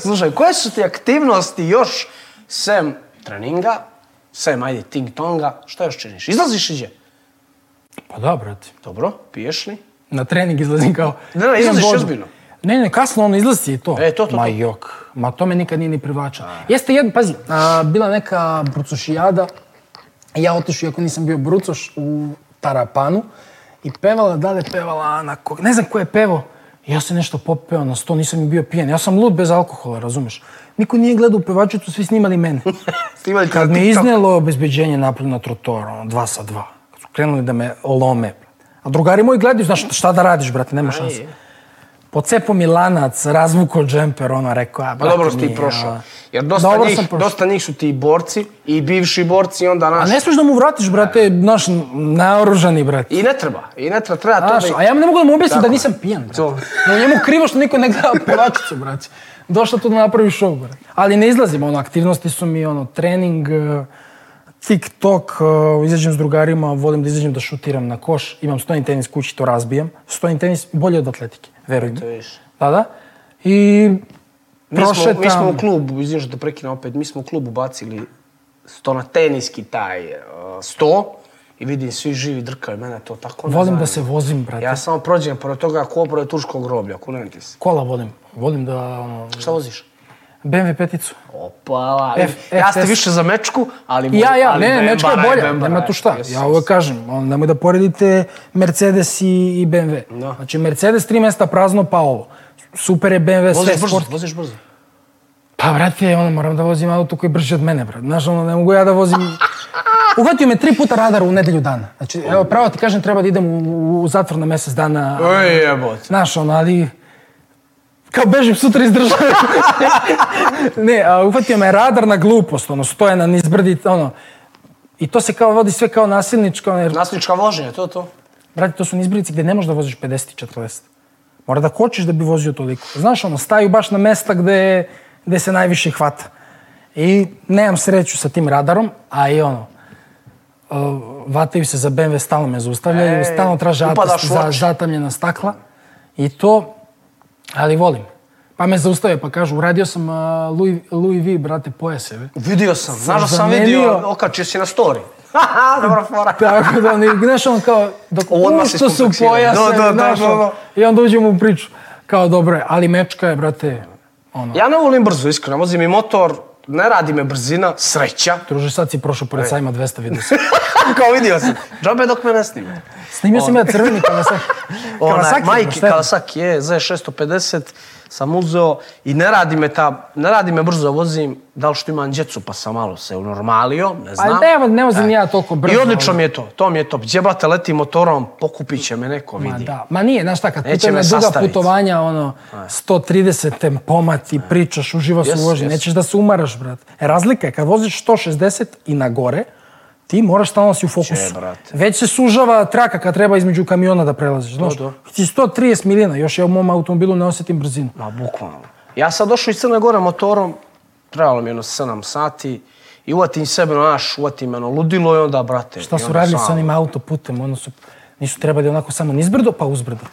Speaker 2: Slušaj, koje su ti aktivnosti još sem treninga, sem ajde ting tonga, šta još činiš? Izlaziš iđe?
Speaker 1: pa da, brate.
Speaker 2: Dobro, piješ li?
Speaker 1: Na trening izlazim kao...
Speaker 2: Ne, ne,
Speaker 1: pijem
Speaker 2: izlaziš
Speaker 1: vodu.
Speaker 2: ozbiljno.
Speaker 1: Ne, ne, kasno on izlazi i to.
Speaker 2: E, to, to,
Speaker 1: Ma
Speaker 2: to.
Speaker 1: jok, ma to me nikad nije ni privlača. Jeste jedno, pazi, a, bila neka brucošijada, ja otišu, iako nisam bio brucoš, u Tarapanu i pevala, da li je pevala Ana, ko, ne znam ko je pevo, ja sam nešto popeo na sto, nisam ni bio pijen, ja sam lud bez alkohola, razumeš? Niko nije gledao pevačicu, svi snimali mene.
Speaker 2: Snimali
Speaker 1: Kad
Speaker 2: na
Speaker 1: me
Speaker 2: TikTok.
Speaker 1: iznelo obezbeđenje napolje na trotoru, ono, dva sa dva, kad su krenuli da me olome, a drugari moji gledaju, znaš, šta da radiš, brate, nema šanse. Pocepo mi lanac, razvuko džemper, ono, rekao, a,
Speaker 2: Pa
Speaker 1: brate,
Speaker 2: dobro si ti
Speaker 1: nije,
Speaker 2: prošao.
Speaker 1: a-
Speaker 2: Jer dosta,
Speaker 1: Dobro
Speaker 2: njih,
Speaker 1: sam prošao.
Speaker 2: dosta njih su ti borci i bivši borci i onda
Speaker 1: A
Speaker 2: naš...
Speaker 1: ne smiješ da mu vratiš, brate, naš naoružani, brate.
Speaker 2: I ne treba, i ne treba, treba to
Speaker 1: Znaš,
Speaker 2: da...
Speaker 1: a ja mu ne mogu da mu objasnim
Speaker 2: Tako
Speaker 1: da
Speaker 2: je.
Speaker 1: nisam pijan, brate.
Speaker 2: To.
Speaker 1: No, njemu krivo što niko ne gleda pevačicu, brate. Došla tu da napravi šov, brate. Ali ne izlazim, ono, aktivnosti su mi, ono, trening, eh, TikTok, eh, izađem s drugarima, volim da izađem da šutiram na koš, imam stoni tenis kući, to razbijam. Stoni tenis bolje od atletike, veruj mi.
Speaker 2: To vidiš.
Speaker 1: Da, da. I
Speaker 2: Mi smo,
Speaker 1: prošetam.
Speaker 2: mi smo u klubu, izvim što te prekina opet, mi smo u klubu bacili sto na teniski taj uh, sto i vidim svi živi drkaju, mene to tako ne
Speaker 1: Volim da
Speaker 2: zanima.
Speaker 1: se vozim, brate.
Speaker 2: Ja samo prođem pored toga ko pored turskog groblja, kunem ti se.
Speaker 1: Kola volim. Volim da, ono,
Speaker 2: Šta voziš?
Speaker 1: BMW peticu.
Speaker 2: Opa,
Speaker 1: F-
Speaker 2: ja ste
Speaker 1: FS.
Speaker 2: više za mečku, ali...
Speaker 1: I Ja, ja,
Speaker 2: ali
Speaker 1: ne, ne, mečka je
Speaker 2: Bembara
Speaker 1: bolja,
Speaker 2: Bembara
Speaker 1: nema
Speaker 2: je.
Speaker 1: tu šta.
Speaker 2: Jesu,
Speaker 1: Ja uvek kažem, on, nemoj da poredite Mercedes i, i BMW.
Speaker 2: Da.
Speaker 1: Znači, Mercedes tri mesta prazno, pa ovo. Super je BMW, sve
Speaker 2: Voziš brzo,
Speaker 1: sport.
Speaker 2: voziš brzo.
Speaker 1: Pa, brate, ono, moram da vozim auto koji je brži od mene, brate. Znaš, ono, ne mogu ja da vozim... Uvatio me tri puta radar u nedelju dana. Znači, evo, pravo ti kažem, treba da idem u, u zatvor na mesec dana.
Speaker 2: Ej, jebote.
Speaker 1: Znaš, ono, ali... Kao bežim sutra iz države. ne, a, uhvatio me radar na glupost, ono, stoje na nizbrdi, ono. I to se kao vodi sve kao nasilničko, ono, jer,
Speaker 2: Nasilnička vožnja, to to.
Speaker 1: brate, to su nizbrdici gde ne možeš da voziš 50 i 40. Mora da kočiš da bi vozio toliko. Znaš, ono, staju baš na mesta gde, gde se najviše hvata. I nemam sreću sa tim radarom, a i ono, uh, vataju se za BMW, stalno me zaustavljaju,
Speaker 2: Ej,
Speaker 1: stalno traže
Speaker 2: upadaš
Speaker 1: atest
Speaker 2: u
Speaker 1: za
Speaker 2: oči.
Speaker 1: zatamljena stakla. I to, ali volim. Pa me zaustave pa kažu, uradio sam uh, Louis, Louis V, brate, pojaseve.
Speaker 2: Vidio sam,
Speaker 1: Sam
Speaker 2: znaš da sam
Speaker 1: zamenio.
Speaker 2: vidio, okačio si na story. Haha, dobra fora.
Speaker 1: Tako da, oni, znaš, on kao, dok
Speaker 2: Odmah se
Speaker 1: ušto su
Speaker 2: iskompleksiraju.
Speaker 1: pojasne,
Speaker 2: Da, da, da,
Speaker 1: znaš,
Speaker 2: da, da.
Speaker 1: ono, i onda uđemo u priču. Kao, dobro je, ali mečka je, brate, ono,
Speaker 2: Ja ne volim brzo, iskreno, vozim i motor, ne radi me brzina, sreća.
Speaker 1: druže, sad si prošao pored sajma 200 video sam.
Speaker 2: Kao vidio sam, džabe dok me ne snime.
Speaker 1: Snimio sam ja crveni Kawasaki.
Speaker 2: Onaj,
Speaker 1: Kawasaki,
Speaker 2: majke,
Speaker 1: šta je?
Speaker 2: Kawasaki je Z650, sam uzeo i ne radi me ta, ne radi me brzo, vozim, da li što imam djecu, pa sam malo se unormalio, ne znam. E,
Speaker 1: Ali Pa ne, ne vozim ja toliko brzo. ono.
Speaker 2: I odlično mi je to, to mi je to. Djebate, leti motorom, pokupit će me neko,
Speaker 1: Ma
Speaker 2: vidi.
Speaker 1: da, ma nije, znaš šta, kad
Speaker 2: Neće
Speaker 1: putujem
Speaker 2: me
Speaker 1: na duga
Speaker 2: sastaviti.
Speaker 1: putovanja, ono, 130 tempomat i pričaš, uživaš
Speaker 2: Jes,
Speaker 1: u vožnji,
Speaker 2: jes.
Speaker 1: nećeš da se umaraš, brat. E, razlika je, kad voziš 160 i na gore, ti moraš stalno da si u fokusu.
Speaker 2: brate.
Speaker 1: Već se sužava traka kad treba između kamiona da prelaziš, znaš.
Speaker 2: da.
Speaker 1: Ti 130 milina, još ja u mom automobilu ne osjetim brzinu.
Speaker 2: Ma, bukvalno. Ja sam došao iz Crne Gore motorom, trebalo mi je ono 7 sati, i uvatim sebe, ono, naš, uvatim ono ludilo i onda, brate...
Speaker 1: Šta
Speaker 2: i
Speaker 1: su
Speaker 2: onda
Speaker 1: radili sa
Speaker 2: sam-
Speaker 1: onim autoputem, ono su, nisu trebali onako samo nizbrdo pa uzbrdo.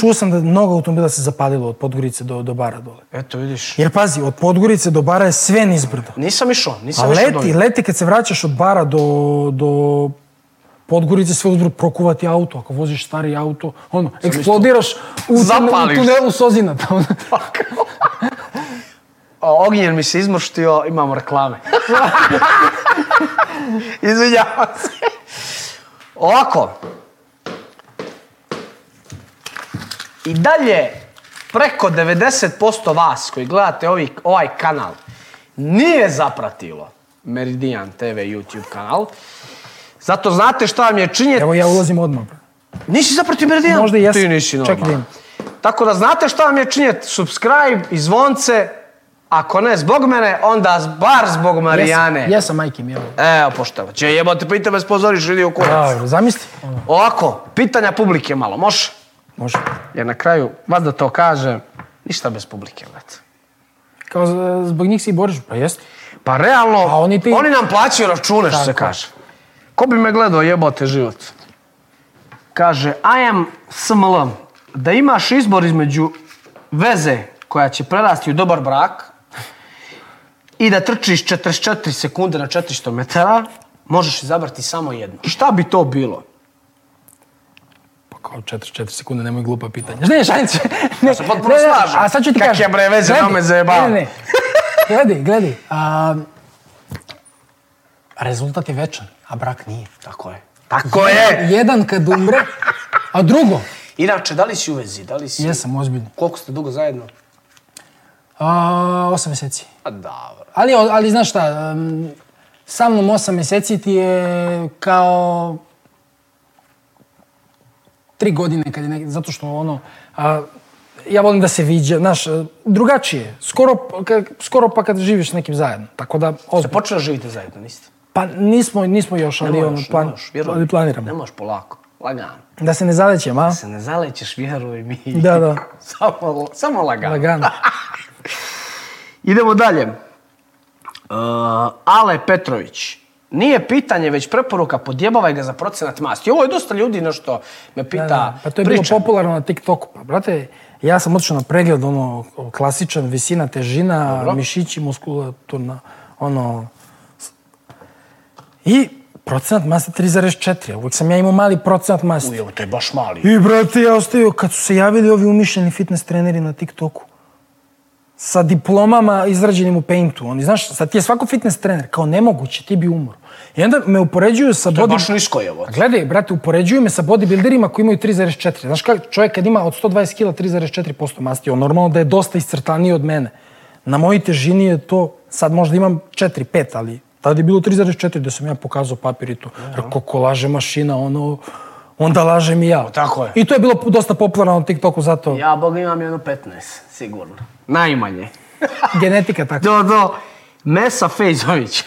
Speaker 1: Čuo sam da mnogo automobila se zapalilo od Podgorice do, do Bara dole.
Speaker 2: Eto, vidiš.
Speaker 1: Jer pazi, od Podgorice do Bara je sve nizbrdo.
Speaker 2: Nisam išao, nisam
Speaker 1: A
Speaker 2: išao
Speaker 1: leti,
Speaker 2: dolje.
Speaker 1: leti kad se vraćaš od bara do, do Podgorice sve uzbrod prokuvati auto, ako voziš stari auto, ono, eksplodiraš u, tun- u
Speaker 2: Zapališ.
Speaker 1: tunelu Sozinata. ono.
Speaker 2: O, ognjen mi se izmrštio, imamo reklame. Izvinjavam se. Ovako. I dalje, preko 90% vas koji gledate ovi, ovaj kanal nije zapratilo Meridian TV YouTube kanal. Zato znate šta vam je činjeti.
Speaker 1: Evo ja ulazim odmah. bro.
Speaker 2: Nisi zapratio Meridian?
Speaker 1: Možda i jesam.
Speaker 2: Ti nisi
Speaker 1: Čekaj da
Speaker 2: normalan.
Speaker 1: imam.
Speaker 2: Tako da znate šta vam je činjeti. Subscribe i zvonce. Ako ne zbog mene, onda z- bar zbog Marijane.
Speaker 1: Jesam, jesam majke mi, evo.
Speaker 2: Evo, poštava. Če jebote, pita me spozoriš, vidi u kurac.
Speaker 1: Dobro, zamisli. Ono,
Speaker 2: Ovako, pitanja publike malo, može?
Speaker 1: može.
Speaker 2: Jer na kraju, vas da to kažem, ništa bez publike, vrat.
Speaker 1: Kao z- zbog njih se i boriš, pa jeste.
Speaker 2: Pa realno,
Speaker 1: A oni ti-
Speaker 2: oni nam plaćaju račune, što se
Speaker 1: Tako.
Speaker 2: kaže. Ko bi me gledao jebote život? Kaže, I am SML. Da imaš izbor između veze koja će prerasti u dobar brak i da trčiš 44 sekunde na 400 metara, možeš izabrati samo jedno. Šta bi to bilo?
Speaker 1: Pa Pa kao 4-4 sekunde, nemoj glupa pitanja. Ne, šalim se. Ne,
Speaker 2: se potpuno slažem.
Speaker 1: A sad ću ti
Speaker 2: Kak
Speaker 1: kažem.
Speaker 2: je, bre, veze,
Speaker 1: Gledi,
Speaker 2: nama je zajebava.
Speaker 1: Ne, ne, ne. Gledi, gledi. A, rezultat je večan, a brak nije.
Speaker 2: Tako je. Tako je!
Speaker 1: Jedan kad umre, a drugo,
Speaker 2: Inače, da li si u vezi? Da li si...
Speaker 1: jesam ozbiljno.
Speaker 2: Koliko ste dugo zajedno?
Speaker 1: A, osam meseci.
Speaker 2: A dobro.
Speaker 1: Ali, ali znaš šta, um, sa mnom osam meseci ti je kao tri godine kad je nek... zato što ono, a, ja volim da se viđa, znaš, a, drugačije, skoro, pa- ka, skoro pa kad živiš s nekim zajedno, tako da,
Speaker 2: Ste
Speaker 1: ozbiljno.
Speaker 2: počeli da živite zajedno, niste?
Speaker 1: Pa nismo, nismo još, ali ono,
Speaker 2: pa- ne
Speaker 1: plan,
Speaker 2: možeš, vjeruj
Speaker 1: ali
Speaker 2: mi.
Speaker 1: planiramo.
Speaker 2: Ne možeš polako, lagano.
Speaker 1: Da se ne zalećem, a?
Speaker 2: Se ne zalećeš, vjeruj mi.
Speaker 1: Da, da.
Speaker 2: samo, samo lagano.
Speaker 1: Lagano.
Speaker 2: Idemo dalje. Uh, Ale Petrović. Nije pitanje, već preporuka, podjebavaj ga za procenat masti. Ovo je dosta ljudi nešto me pita.
Speaker 1: Da, da. Pa to je bilo
Speaker 2: pričam.
Speaker 1: popularno na TikToku. Pa, brate, ja sam otišao na pregled, ono, klasičan, visina, težina,
Speaker 2: Dobro.
Speaker 1: mišići, muskulaturna, ono... s- I procenat mase 3,4. Uvijek sam ja imao mali procenat mase.
Speaker 2: Uj, evo, to je baš mali.
Speaker 1: I, brate, ja ostavio kad su se javili ovi umišljeni fitness treneri na TikToku. Sa diplomama izrađenim u Paintu. Oni, znaš, sad ti je svako fitness trener. Kao nemoguće, ti bi umro. I onda me upoređuju sa
Speaker 2: To je
Speaker 1: body...
Speaker 2: baš nisko je ovo.
Speaker 1: A gledaj, brate, upoređuju me sa bodybuilderima koji imaju 3,4. Znaš kako, čovjek kad ima od 120 kila 3,4% masti, on normalno da je dosta iscrtaniji od mene. Na mojoj težini je to, sad možda imam 4, 5, ali tada je bilo 3,4 da sam ja pokazao papir i to. Rekao, ko laže mašina, ono, onda lažem i ja.
Speaker 2: Tako je.
Speaker 1: I to je bilo dosta popularno na TikToku, zato
Speaker 2: Ja, boga, imam jedno 15, sigurno. Najmanje.
Speaker 1: genetika tako.
Speaker 2: Do, do. Mesa Fejzović.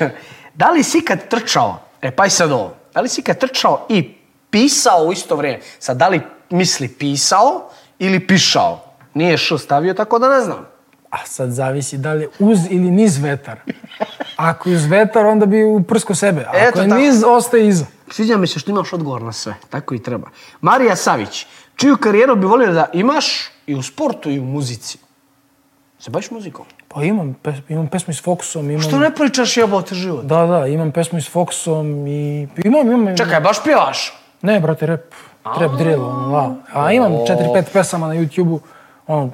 Speaker 2: Da li si kad trčao, e pa i sad ovo, da li si kad trčao i pisao u isto vrijeme? Sad, da li misli pisao ili pišao? Nije š stavio, tako da ne znam.
Speaker 1: A sad zavisi da li je uz ili niz vetar. Ako je uz vetar, onda bi uprsko sebe. Ako
Speaker 2: Eto
Speaker 1: je
Speaker 2: tako.
Speaker 1: niz, ostaje iza.
Speaker 2: Sviđa mi se što imaš odgovor na sve, tako i treba. Marija Savić, čiju karijeru bi volio da imaš i u sportu i u muzici? Se baviš muzikom?
Speaker 1: Pa imam, pes, imam pesmu s Fokusom, imam...
Speaker 2: Što ne pričaš jebote život?
Speaker 1: Da, da, imam pesmu i s Foxom i... Imam, imam...
Speaker 2: Čekaj, baš pjevaš? ne
Speaker 1: Ne, brate, rap. Rap drill, ono, la. A imam 4-5 pesama na YouTube-u, ono...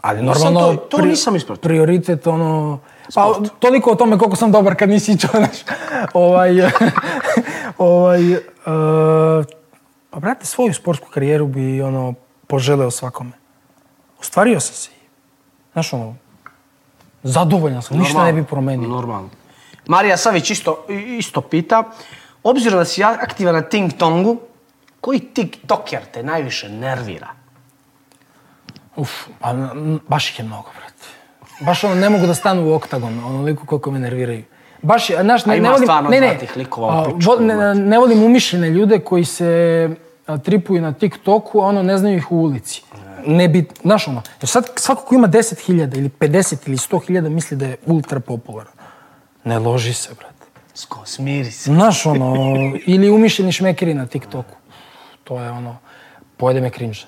Speaker 1: Ali
Speaker 2: Nisam
Speaker 1: normalno...
Speaker 2: to- to nisam ispratio.
Speaker 1: Prioritet, ono... Pa, toliko o tome koliko sam dobar kad nisi ićao, znaš. ovaj... ovaj... e, pa, brate, svoju sportsku karijeru bi, ono, poželeo svakome. Ostvario sam se. Znaš, ono, zadovoljan sam, ništa ne bi promenio.
Speaker 2: Normalno. Marija Savić isto, isto pita, obzirom da si ja- aktivan na TikToku, koji TikToker te najviše nervira?
Speaker 1: Uf, pa n- n- baš ih je mnogo, brate. Baš ono, ne mogu da stanu u oktagon, onoliko koliko me nerviraju. Baš, je- znaš,
Speaker 2: A
Speaker 1: ne,
Speaker 2: ima
Speaker 1: ne volim...
Speaker 2: stvarno
Speaker 1: ne, ne,
Speaker 2: zlatih likova u
Speaker 1: a,
Speaker 2: pičku,
Speaker 1: vo- ne, ne volim umišljene ljude koji se a, tripuju na TikToku, a ono, ne znaju ih u ulici. Ne bi, znaš ono, jer sad svako ko ima 10.000 ili 50 ili 100.000 misli da je ultra popularan. Ne loži se, brate.
Speaker 2: Sko, smiri se.
Speaker 1: Znaš ono, ili umišljeni šmekeri na TikToku. To je ono, pojede me cringe.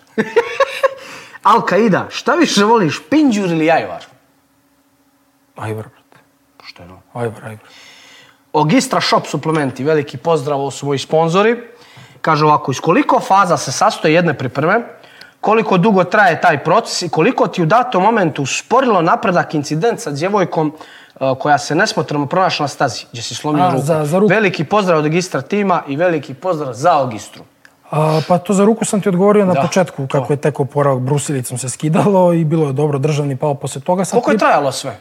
Speaker 2: Al-Qaida, šta više voliš, Pinđur ili Jajvar?
Speaker 1: Ajvar, brate.
Speaker 2: Pošteno.
Speaker 1: Ajvar, ajvar.
Speaker 2: Ogistra Shop suplementi, veliki pozdrav, ovo su moji sponzori. Kaže ovako, iz koliko faza se sastoji jedne pripreme, koliko dugo traje taj proces i koliko ti u datom momentu usporilo napredak incident sa djevojkom e, koja se nesmotrano pronašla na stazi, gdje si slomio
Speaker 1: A,
Speaker 2: ruku.
Speaker 1: za- za ruku.
Speaker 2: Veliki pozdrav od Ogistra tima i veliki pozdrav za Ogistru.
Speaker 1: A, pa to za ruku sam ti odgovorio na
Speaker 2: Da,
Speaker 1: početku, kako je tekao oporavak brusilicom se skidalo i bilo je dobro, državni pao posle toga. Sam
Speaker 2: Koliko je trajalo sve?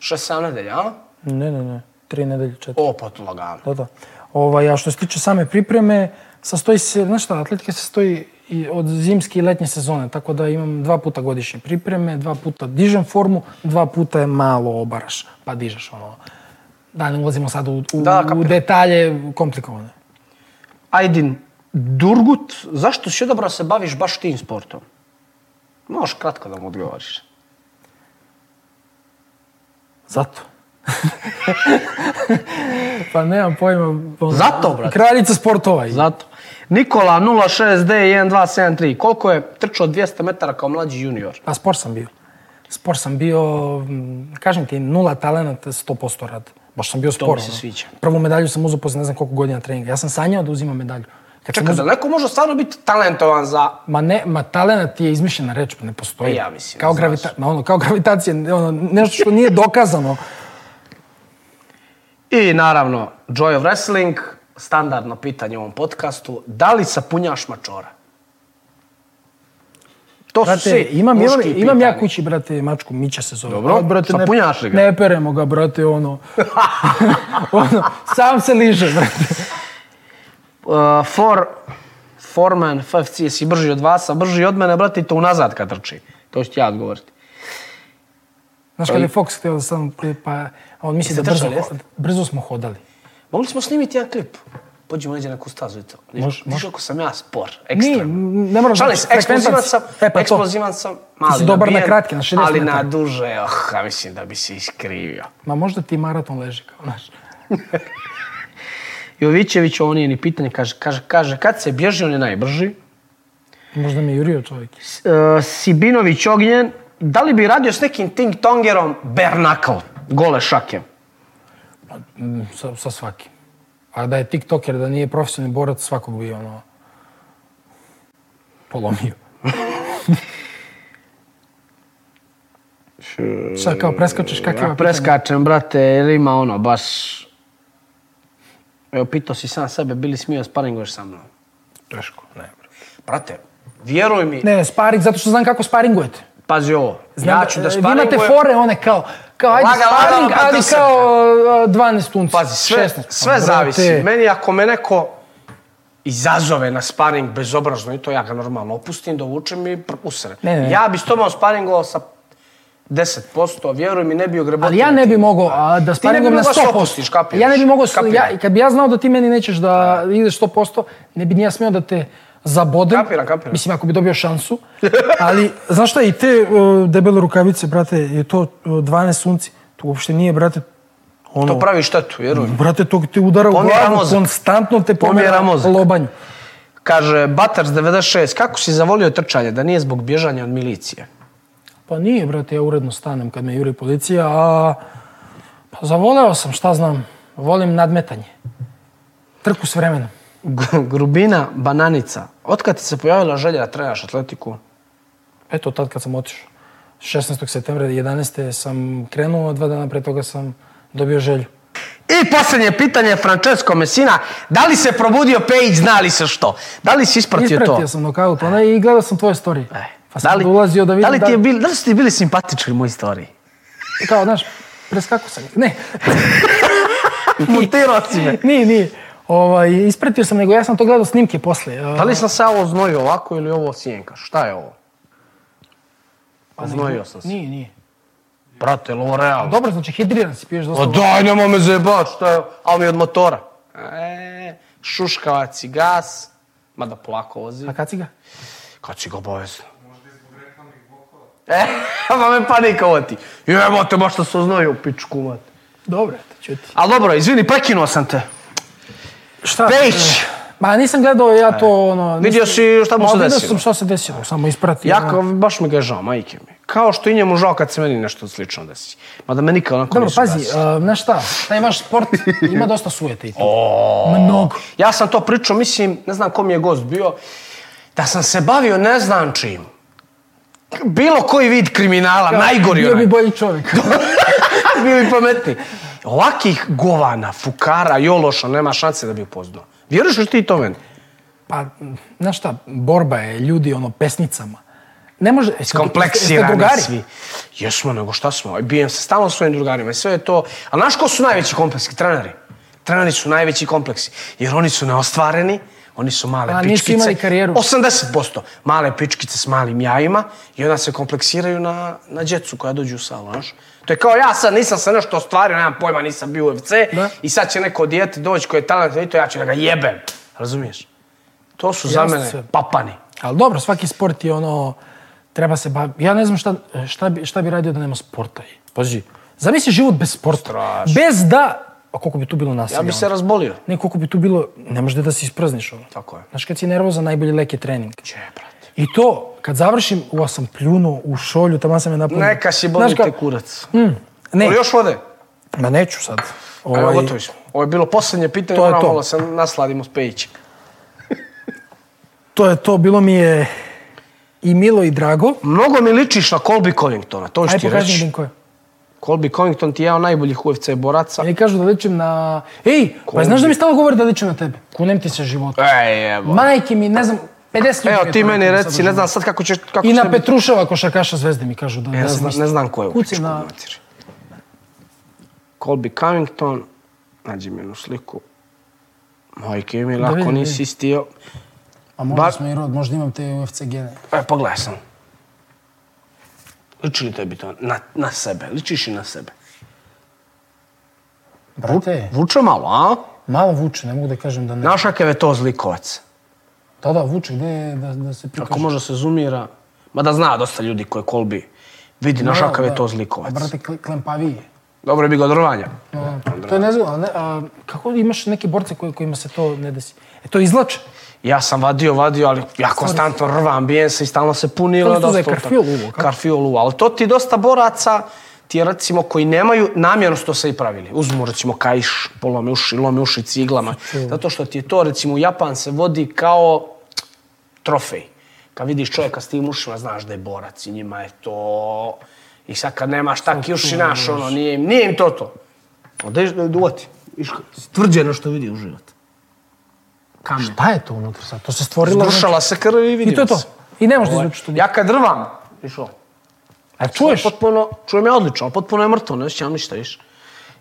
Speaker 2: 6-7 nedelja, a?
Speaker 1: Ne, ne, ne, tri nedelje, četiri.
Speaker 2: O, pa to lagano.
Speaker 1: Da, da. Ovaj, a što se tiče same pripreme, sastoji se, znaš šta, atletika se sastoji i od zimske i letnje sezone, tako da imam dva puta godišnje pripreme, dva puta dižem formu, dva puta je malo obaraš, pa dižeš ono. Da, ne ulazimo sad u, u,
Speaker 2: Da,
Speaker 1: u
Speaker 2: kapiram.
Speaker 1: detalje komplikovane.
Speaker 2: Ajdin Durgut, zašto si odabrao da se baviš baš tim sportom? Možeš kratko da mu odgovoriš.
Speaker 1: Zato. pa nemam pojma. ono,
Speaker 2: Zato, brate.
Speaker 1: Kraljica sportova. je.
Speaker 2: Zato. Nikola 06D1273, koliko je trčao 200 metara kao mlađi junior?
Speaker 1: Pa spor sam bio. Spor sam bio, mm, kažem ti, nula talenata, 100% rad. Baš sam bio
Speaker 2: To
Speaker 1: sporo.
Speaker 2: mi se
Speaker 1: ono.
Speaker 2: sviđa.
Speaker 1: Prvu medalju sam uzeo posle ne znam koliko godina treninga. Ja sam sanjao da uzimam medalju. Kad sam
Speaker 2: Čekaj, da neko može stvarno biti talentovan za...
Speaker 1: Ma ne, ma talenat je izmišljena reč, pa ne postoji.
Speaker 2: Pa ja mislim,
Speaker 1: Kao,
Speaker 2: znaš.
Speaker 1: gravita, ma ono, kao gravitacija, ono, nešto što nije dokazano.
Speaker 2: I naravno, Joy of Wrestling, standardno pitanje u ovom podcastu, da li sapunjaš mačora? To su
Speaker 1: Brate,
Speaker 2: svi
Speaker 1: imam, imam,
Speaker 2: Pa muški
Speaker 1: imam
Speaker 2: pitanja.
Speaker 1: ja kući, brate, mačku, Mića se zove.
Speaker 2: Dobro,
Speaker 1: Al, brate,
Speaker 2: sapunjaš li ga?
Speaker 1: Ne peremo ga, brate, ono, ono, sam se liže, brate.
Speaker 2: Uh, for, Foreman, FFC, si brži od vas, a brži od mene, brate, i to unazad kad trči. To ću ti ja odgovoriti.
Speaker 1: Znaš, kada je Fox htio da sam, pa, a on misli da
Speaker 2: Jeste
Speaker 1: brzo,
Speaker 2: trčali, jeste?
Speaker 1: brzo smo hodali.
Speaker 2: Mogli smo snimiti jedan klip. Pođemo neđe na neku stazu i to.
Speaker 1: Može,
Speaker 2: Može,
Speaker 1: može.
Speaker 2: može. Kako sam ja spor,
Speaker 1: Nije,
Speaker 2: ekstra.
Speaker 1: ne moram...
Speaker 2: Šalim se, eksplozivan sam,
Speaker 1: E, pa to.
Speaker 2: eksplozivan sam, mali
Speaker 1: si dobar na
Speaker 2: nabijen,
Speaker 1: kratke, na 60
Speaker 2: Ali
Speaker 1: metara.
Speaker 2: na duže, oh, ja mislim da bi se iskrivio.
Speaker 1: Ma možda ti maraton leži, kao, znaš.
Speaker 2: Jovićević, ovo nije ni pitanje, kaže, kaže, kaže, kad se bježi, on je najbrži.
Speaker 1: Možda mi je jurio čovjek.
Speaker 2: S- e, Sibinović Ognjen, da li bi radio s nekim ting tongerom Bernakal, gole šake?
Speaker 1: Mm, sa, sa svakim. A da je tiktoker, da nije profesionalni borac, svakog bi ono polomio. Šta kao preskačeš kakve
Speaker 2: Ja
Speaker 1: ja, preska...
Speaker 2: preskačem, brate, jer ima ono, baš... Evo, pitao si sam sebe, bili smio sparinguješ sa mnom.
Speaker 1: Teško, ne.
Speaker 2: Brate, vjeruj mi,
Speaker 1: Ne, sparing, zato što znam kako sparingujete.
Speaker 2: pazi ovo,
Speaker 1: Znam,
Speaker 2: ja ću da
Speaker 1: e, Vi imate
Speaker 2: sparingujem...
Speaker 1: fore one kao, kao ajde
Speaker 2: Laga, laga,
Speaker 1: sparing,
Speaker 2: laga,
Speaker 1: ali
Speaker 2: do srca.
Speaker 1: kao e, 12 tunci.
Speaker 2: Pazi, sve,
Speaker 1: 16.
Speaker 2: sve
Speaker 1: Pa,
Speaker 2: zavisi.
Speaker 1: brate,
Speaker 2: Meni ako me neko izazove na sparing bezobrazno i to ja ga normalno opustim, dovučem i pr- usre.
Speaker 1: Ne, ne, ne.
Speaker 2: Ja bi s tobom sparingovao sa 10%, vjeruj mi, ne bi ogrebotio.
Speaker 1: Ali ja ne bi mogao a, da
Speaker 2: Ti ne bi
Speaker 1: sparingujem na
Speaker 2: mogao da se
Speaker 1: 100%.
Speaker 2: opustiš, kapiraš?
Speaker 1: ja ne bi mogao,
Speaker 2: Kapiram.
Speaker 1: ja, i kad bi ja znao da ti meni nećeš da ideš 100%, ne bi ni ja smio da te zabodem.
Speaker 2: Kapiram, kapiram.
Speaker 1: Mislim, ako bi dobio šansu. Ali, znaš šta, i te uh, debele rukavice, brate, i to uh, 12 sunci, to uopšte nije, brate, ono...
Speaker 2: To pravi štetu, vjeruj mi.
Speaker 1: Brate, to ti udara u
Speaker 2: Pomjera
Speaker 1: glavu,
Speaker 2: mozak.
Speaker 1: konstantno te
Speaker 2: Pomjera
Speaker 1: pomera
Speaker 2: mozak.
Speaker 1: lobanju.
Speaker 2: Kaže, Batars 96, kako si zavolio trčanje da nije zbog bježanja od milicije?
Speaker 1: Pa nije, brate, ja uredno stanem kad me juri policija, a... Pa zavoleo sam, šta znam, volim nadmetanje. Trku s vremenom.
Speaker 2: G- grubina bananica. Otkad ti se pojavila želja da trenaš atletiku?
Speaker 1: Eto, tad kad sam otišao. 16. septembra 11. sam krenuo, dva dana pre toga sam dobio želju.
Speaker 2: I posljednje pitanje, Francesco Messina, da li se probudio Page, zna li se što? Da li si ispratio,
Speaker 1: Ispratio
Speaker 2: to?
Speaker 1: sam nokaut, ona i gledao sam tvoje storije.
Speaker 2: E,
Speaker 1: Pa sam da ulazio da vidim
Speaker 2: da, li ti je bil, da li su ti bili simpatični moji storiji?
Speaker 1: Kao, znaš, preskako sam ih. Ne,
Speaker 2: Montirao si me.
Speaker 1: nije, nije. Ovaj, ispratio sam, nego ja sam to gledao snimke posle.
Speaker 2: Da li sam se ovo znojio ovako ili ovo sjenka? Šta je ovo? Znojio sam se.
Speaker 1: Nije, nije.
Speaker 2: Pa Brate, jel ovo realno?
Speaker 1: Dobro, znači, hidriran si, piješ dosta.
Speaker 2: O pa daj, nema me zajebat, šta je ovo? A mi je od motora. E, šuškavac i gas. Mada polako vozi.
Speaker 1: A kad si ga?
Speaker 2: Kad si ga obavezno? E, pa me panika oti. Jebo te, baš da se oznojio u pičku, mate.
Speaker 1: Dobro, eto, čuti.
Speaker 2: Ali dobro, izvini, prekinuo sam te.
Speaker 1: Šta?
Speaker 2: Peć!
Speaker 1: Ma nisam gledao ja to, ono...
Speaker 2: Vidio
Speaker 1: nisam-
Speaker 2: si šta mu
Speaker 1: Ma,
Speaker 2: se
Speaker 1: Vidio
Speaker 2: desilo.
Speaker 1: sam šta se desilo, samo ispratio. ono.
Speaker 2: Jako, baš mi ga je žao, majke mi. Kao što i njemu žao kad se meni nešto slično desi. Mada me nikad onako
Speaker 1: Dobro,
Speaker 2: nisu
Speaker 1: pazi,
Speaker 2: desili.
Speaker 1: uh, znaš šta, taj vaš sport ima dosta sujete i to. Mnogo.
Speaker 2: Ja sam to pričao, mislim, ne znam ko mi je gost bio, da sam se bavio ne znam čim. Bilo koji vid kriminala, najgori
Speaker 1: Bio
Speaker 2: onaj.
Speaker 1: bi bolji čovjek.
Speaker 2: Bili pametni. Ovakih govana, fukara, jološa, nema šanse da bi upoznao. Vjeruješ li ti to meni?
Speaker 1: Pa, znaš šta, borba je ljudi ono pesnicama. Ne može... jeste- jeste
Speaker 2: Kompleksirani
Speaker 1: drugari?
Speaker 2: svi. Jesmo, nego šta smo? Ovaj, Bijem se stalno s svojim drugarima i sve je to. A znaš ko su najveći kompleksi? Treneri. Treneri su najveći kompleksi. Jer oni su neostvareni, oni su male
Speaker 1: A, nisu
Speaker 2: pičkice.
Speaker 1: imali karijeru.
Speaker 2: 80% male pičkice s malim jajima i onda se kompleksiraju na, na djecu koja dođu u salu, znaš? To je kao ja sad nisam se nešto ostvario, nemam pojma, nisam bio UFC
Speaker 1: Da.
Speaker 2: i sad će neko dijete doći koji je talentno i to ja ću da ga jebem. Razumiješ? To su za
Speaker 1: Jasno
Speaker 2: mene
Speaker 1: sve.
Speaker 2: papani.
Speaker 1: Ali dobro, svaki sport je ono... Treba se baviti. Ja ne znam šta, šta, bi, šta bi radio da nema sporta. Pazi, zamisli život bez sporta.
Speaker 2: Strašno.
Speaker 1: Bez da... A koliko bi tu bilo nasilja?
Speaker 2: Ja bi se
Speaker 1: onda?
Speaker 2: razbolio.
Speaker 1: Ne, koliko bi tu bilo... Ne možda da se isprzniš ovo.
Speaker 2: Tako je.
Speaker 1: Znaš, kad si nervozan, najbolji lek je trening.
Speaker 2: Če, brate.
Speaker 1: I to, kad završim, u sam pljunuo u šolju, tamo sam je napunio.
Speaker 2: Neka si
Speaker 1: Znaš
Speaker 2: bolite
Speaker 1: kao-
Speaker 2: kurac.
Speaker 1: Mm, ne,
Speaker 2: Ali još vode.
Speaker 5: Ma neću sad.
Speaker 2: Ovaj... Evo, gotovi smo. Ovo je bilo posljednje pitanje,
Speaker 5: To je
Speaker 2: moramo
Speaker 5: to.
Speaker 2: malo da se nasladimo s Pejićem.
Speaker 5: to je to, bilo mi je i milo i drago.
Speaker 2: Mnogo mi ličiš na Colby Covingtona, to ću
Speaker 1: Aj
Speaker 2: ti
Speaker 1: pokaži mi
Speaker 2: reći.
Speaker 1: Dinko je.
Speaker 2: Colby Covington ti je jedan od najboljih UFC boraca.
Speaker 1: Meni kažu da ličim na... Ej, pa
Speaker 2: Kolbi.
Speaker 1: znaš da mi stalo govori da ličim na tebe? Kunem ti se život.
Speaker 2: Ej, E, evo.
Speaker 1: Majke mi, ne znam, 50 ljudi.
Speaker 2: Evo,
Speaker 1: je
Speaker 2: ti
Speaker 1: to
Speaker 2: meni
Speaker 1: rekao
Speaker 2: reci,
Speaker 1: sad.
Speaker 2: ne znam sad kako ćeš... Kako
Speaker 1: I
Speaker 2: ćeš
Speaker 1: na
Speaker 2: tebi-
Speaker 1: Petruševa košarkaša zvezde mi kažu da
Speaker 2: Ja
Speaker 1: ne
Speaker 2: ne znam,
Speaker 1: znaš.
Speaker 2: ne znam ko je u
Speaker 1: Kuci
Speaker 2: pičku
Speaker 1: na-
Speaker 2: mater. Colby Covington, nađi mi jednu sliku. Majke mi, lako
Speaker 1: vidim,
Speaker 2: nisi stio.
Speaker 1: A možda
Speaker 2: Bar-
Speaker 1: smo i rod, možda imam te UFC gene.
Speaker 2: E, pogledaj sam. Liči li tebi to? Na, na sebe, ličiš i na sebe.
Speaker 1: Brate,
Speaker 2: Vuče malo, a?
Speaker 1: malo vuče, ne mogu da kažem da ne.
Speaker 2: Znaš kakav je to zlikovac?
Speaker 1: Da, da, vuče, gde je da, da se
Speaker 2: Ako
Speaker 1: prikaže?
Speaker 2: može da se zoomira, mada zna dosta ljudi koje kolbi vidi, znaš
Speaker 1: Da,
Speaker 2: kakav je
Speaker 1: da.
Speaker 2: to zlikovac.
Speaker 1: A Brate, kle- klempaviji je.
Speaker 2: Dobro je bi ga odrvanja.
Speaker 1: Da. To je nezgodno, a ne, a, kako imaš neke borce koji, kojima se to ne desi? E to izlače.
Speaker 2: Ja sam vadio, vadio, ali ja konstantno rvam bijensa i stalno se punilo.
Speaker 1: Kako se to zove,
Speaker 2: dosta
Speaker 1: karfiol
Speaker 2: utak-
Speaker 1: uvo, kako?
Speaker 2: Karfiol uvo, ali to ti dosta boraca ti je recimo koji nemaju namjerno su to se i pravili. Uzmu recimo kajš, polome uši, lome uši ciglama. Zato što ti je to recimo u Japan se vodi kao trofej. Kad vidiš čovjeka s tim ušima, znaš da je borac i njima je to... I sad kad nemaš taki uši naš, ono, nije im, nije im to to. Odeš da duvati. Tvrđeno što vidi u život. Kamen.
Speaker 1: Šta je to unutra sad? To se stvorilo... znači,
Speaker 2: Zrušala se krv i vidimo
Speaker 1: I to je to.
Speaker 2: se.
Speaker 1: I ne možeš da
Speaker 2: Ovaj,
Speaker 1: izvučeš tu.
Speaker 2: Ja kad drvam, išao.
Speaker 1: A čuješ?
Speaker 2: Potpuno, čujem ja odlično, ali potpuno je mrtvo, ne osjećam ništa više.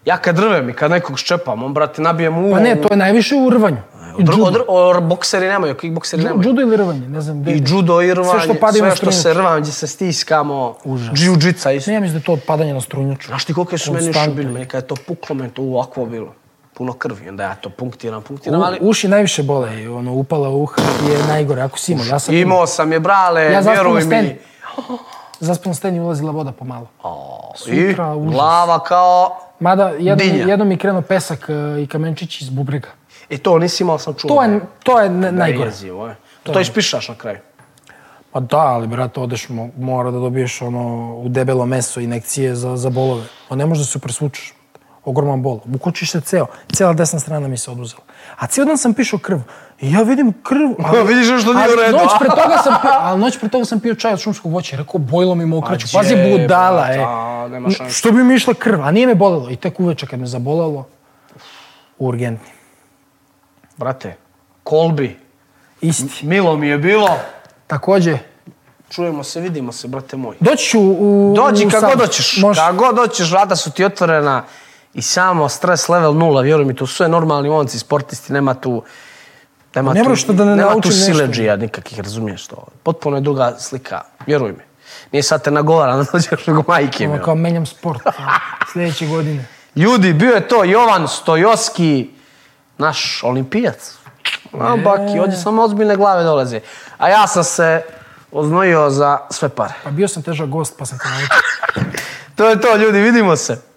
Speaker 2: Ja kad drvem i kad nekog ščepam, on, brate, nabijem u...
Speaker 1: Pa ne, to je najviše u rvanju. I
Speaker 2: Dr,
Speaker 1: judo.
Speaker 2: odr, or, bokseri nemaju, kickbokseri
Speaker 1: Ju-
Speaker 2: nemaju.
Speaker 1: Judo ili rvanje, ne znam gde.
Speaker 2: I judo, i rvanje,
Speaker 1: što padaju na
Speaker 2: sve što se
Speaker 1: strunicu.
Speaker 2: rvam, gdje se stiskamo,
Speaker 1: Užas.
Speaker 2: jiu-jitsa isto.
Speaker 1: Ne, ja mislim da je to odpadanje na strunjaču.
Speaker 2: Znaš ti koliko su meni još
Speaker 1: Konstantno.
Speaker 2: bili? Meni kad je to puklo, meni to ovako bilo. Puno krvi, onda ja to punktiram, punktiram, ali...
Speaker 1: U, uši najviše bole, i ono, upala uha je najgore, ako si imao, ja sam imao.
Speaker 2: Imao sam je, brale,
Speaker 1: Ja zaspao na
Speaker 2: vjeruj
Speaker 1: steni.
Speaker 2: mi.
Speaker 1: Zaspao na steni ulazila voda pomalo.
Speaker 2: I
Speaker 1: Sutra, užas.
Speaker 2: glava kao...
Speaker 1: Mada, jedno,
Speaker 2: Dinja.
Speaker 1: jedno mi krenuo pesak e, i kamenčić iz bubrega.
Speaker 2: I E, to nisi imao, sam čuo.
Speaker 1: To je, to je ne,
Speaker 2: Da je
Speaker 1: najgore.
Speaker 2: jezivo, je. To ispišaš na kraju.
Speaker 1: Pa da, ali brate, odeš, mo, mora da dobiješ ono, u debelo meso inekcije za, za bolove. Pa ne možeš da se presvučeš. Ogroman bol. Ukočiš se ceo. Cijela desna strana mi se oduzela. A cijel dan sam pišao krv. I ja vidim krv. Ali,
Speaker 2: Pa Vidiš što nije u
Speaker 1: ali
Speaker 2: redu,
Speaker 1: noć
Speaker 2: a?
Speaker 1: pre toga sam pio, ali noć pre toga sam pio čaj od šumskog voća. i Rekao, bojlo mi mokraću.
Speaker 2: Pa
Speaker 1: Pazi,
Speaker 2: je,
Speaker 1: budala,
Speaker 2: brate,
Speaker 1: e.
Speaker 2: a, nema šanse.
Speaker 1: Što bi mi išla krv? A nije me bolelo. I tek uveče kad me zabolalo, urgentni.
Speaker 2: Brate, kolbi,
Speaker 1: Isti.
Speaker 2: milo mi je bilo.
Speaker 1: Takođe,
Speaker 2: Čujemo se, vidimo se, brate moj.
Speaker 1: doći ću u...
Speaker 2: Dođi
Speaker 1: u
Speaker 2: kako
Speaker 1: sam.
Speaker 2: god hoćeš.
Speaker 1: Može.
Speaker 2: Kako god hoćeš, vrata su ti otvorena i samo stres level nula, vjeruj mi, tu su sve normalni momci, sportisti, nema tu... Nema
Speaker 1: Ne
Speaker 2: tu,
Speaker 1: moraš to da ne
Speaker 2: nema tu
Speaker 1: naučim nešto.
Speaker 2: sileđija nikakvih, razumiješ to. Potpuno je druga slika, vjeruj mi. Nije sad te nagovaram da dođeš nego majke mi.
Speaker 1: Ono
Speaker 2: ono.
Speaker 1: kao menjam sport ono, sljedeće godine.
Speaker 2: Ljudi, bio je to Jovan Stojoski, naš olimpijac. A baki, ovdje samo ozbiljne glave dolaze. A ja sam se oznojio za sve pare.
Speaker 1: Pa bio sam težak gost, pa sam kao naučio.
Speaker 2: To je to, ljudi, vidimo se.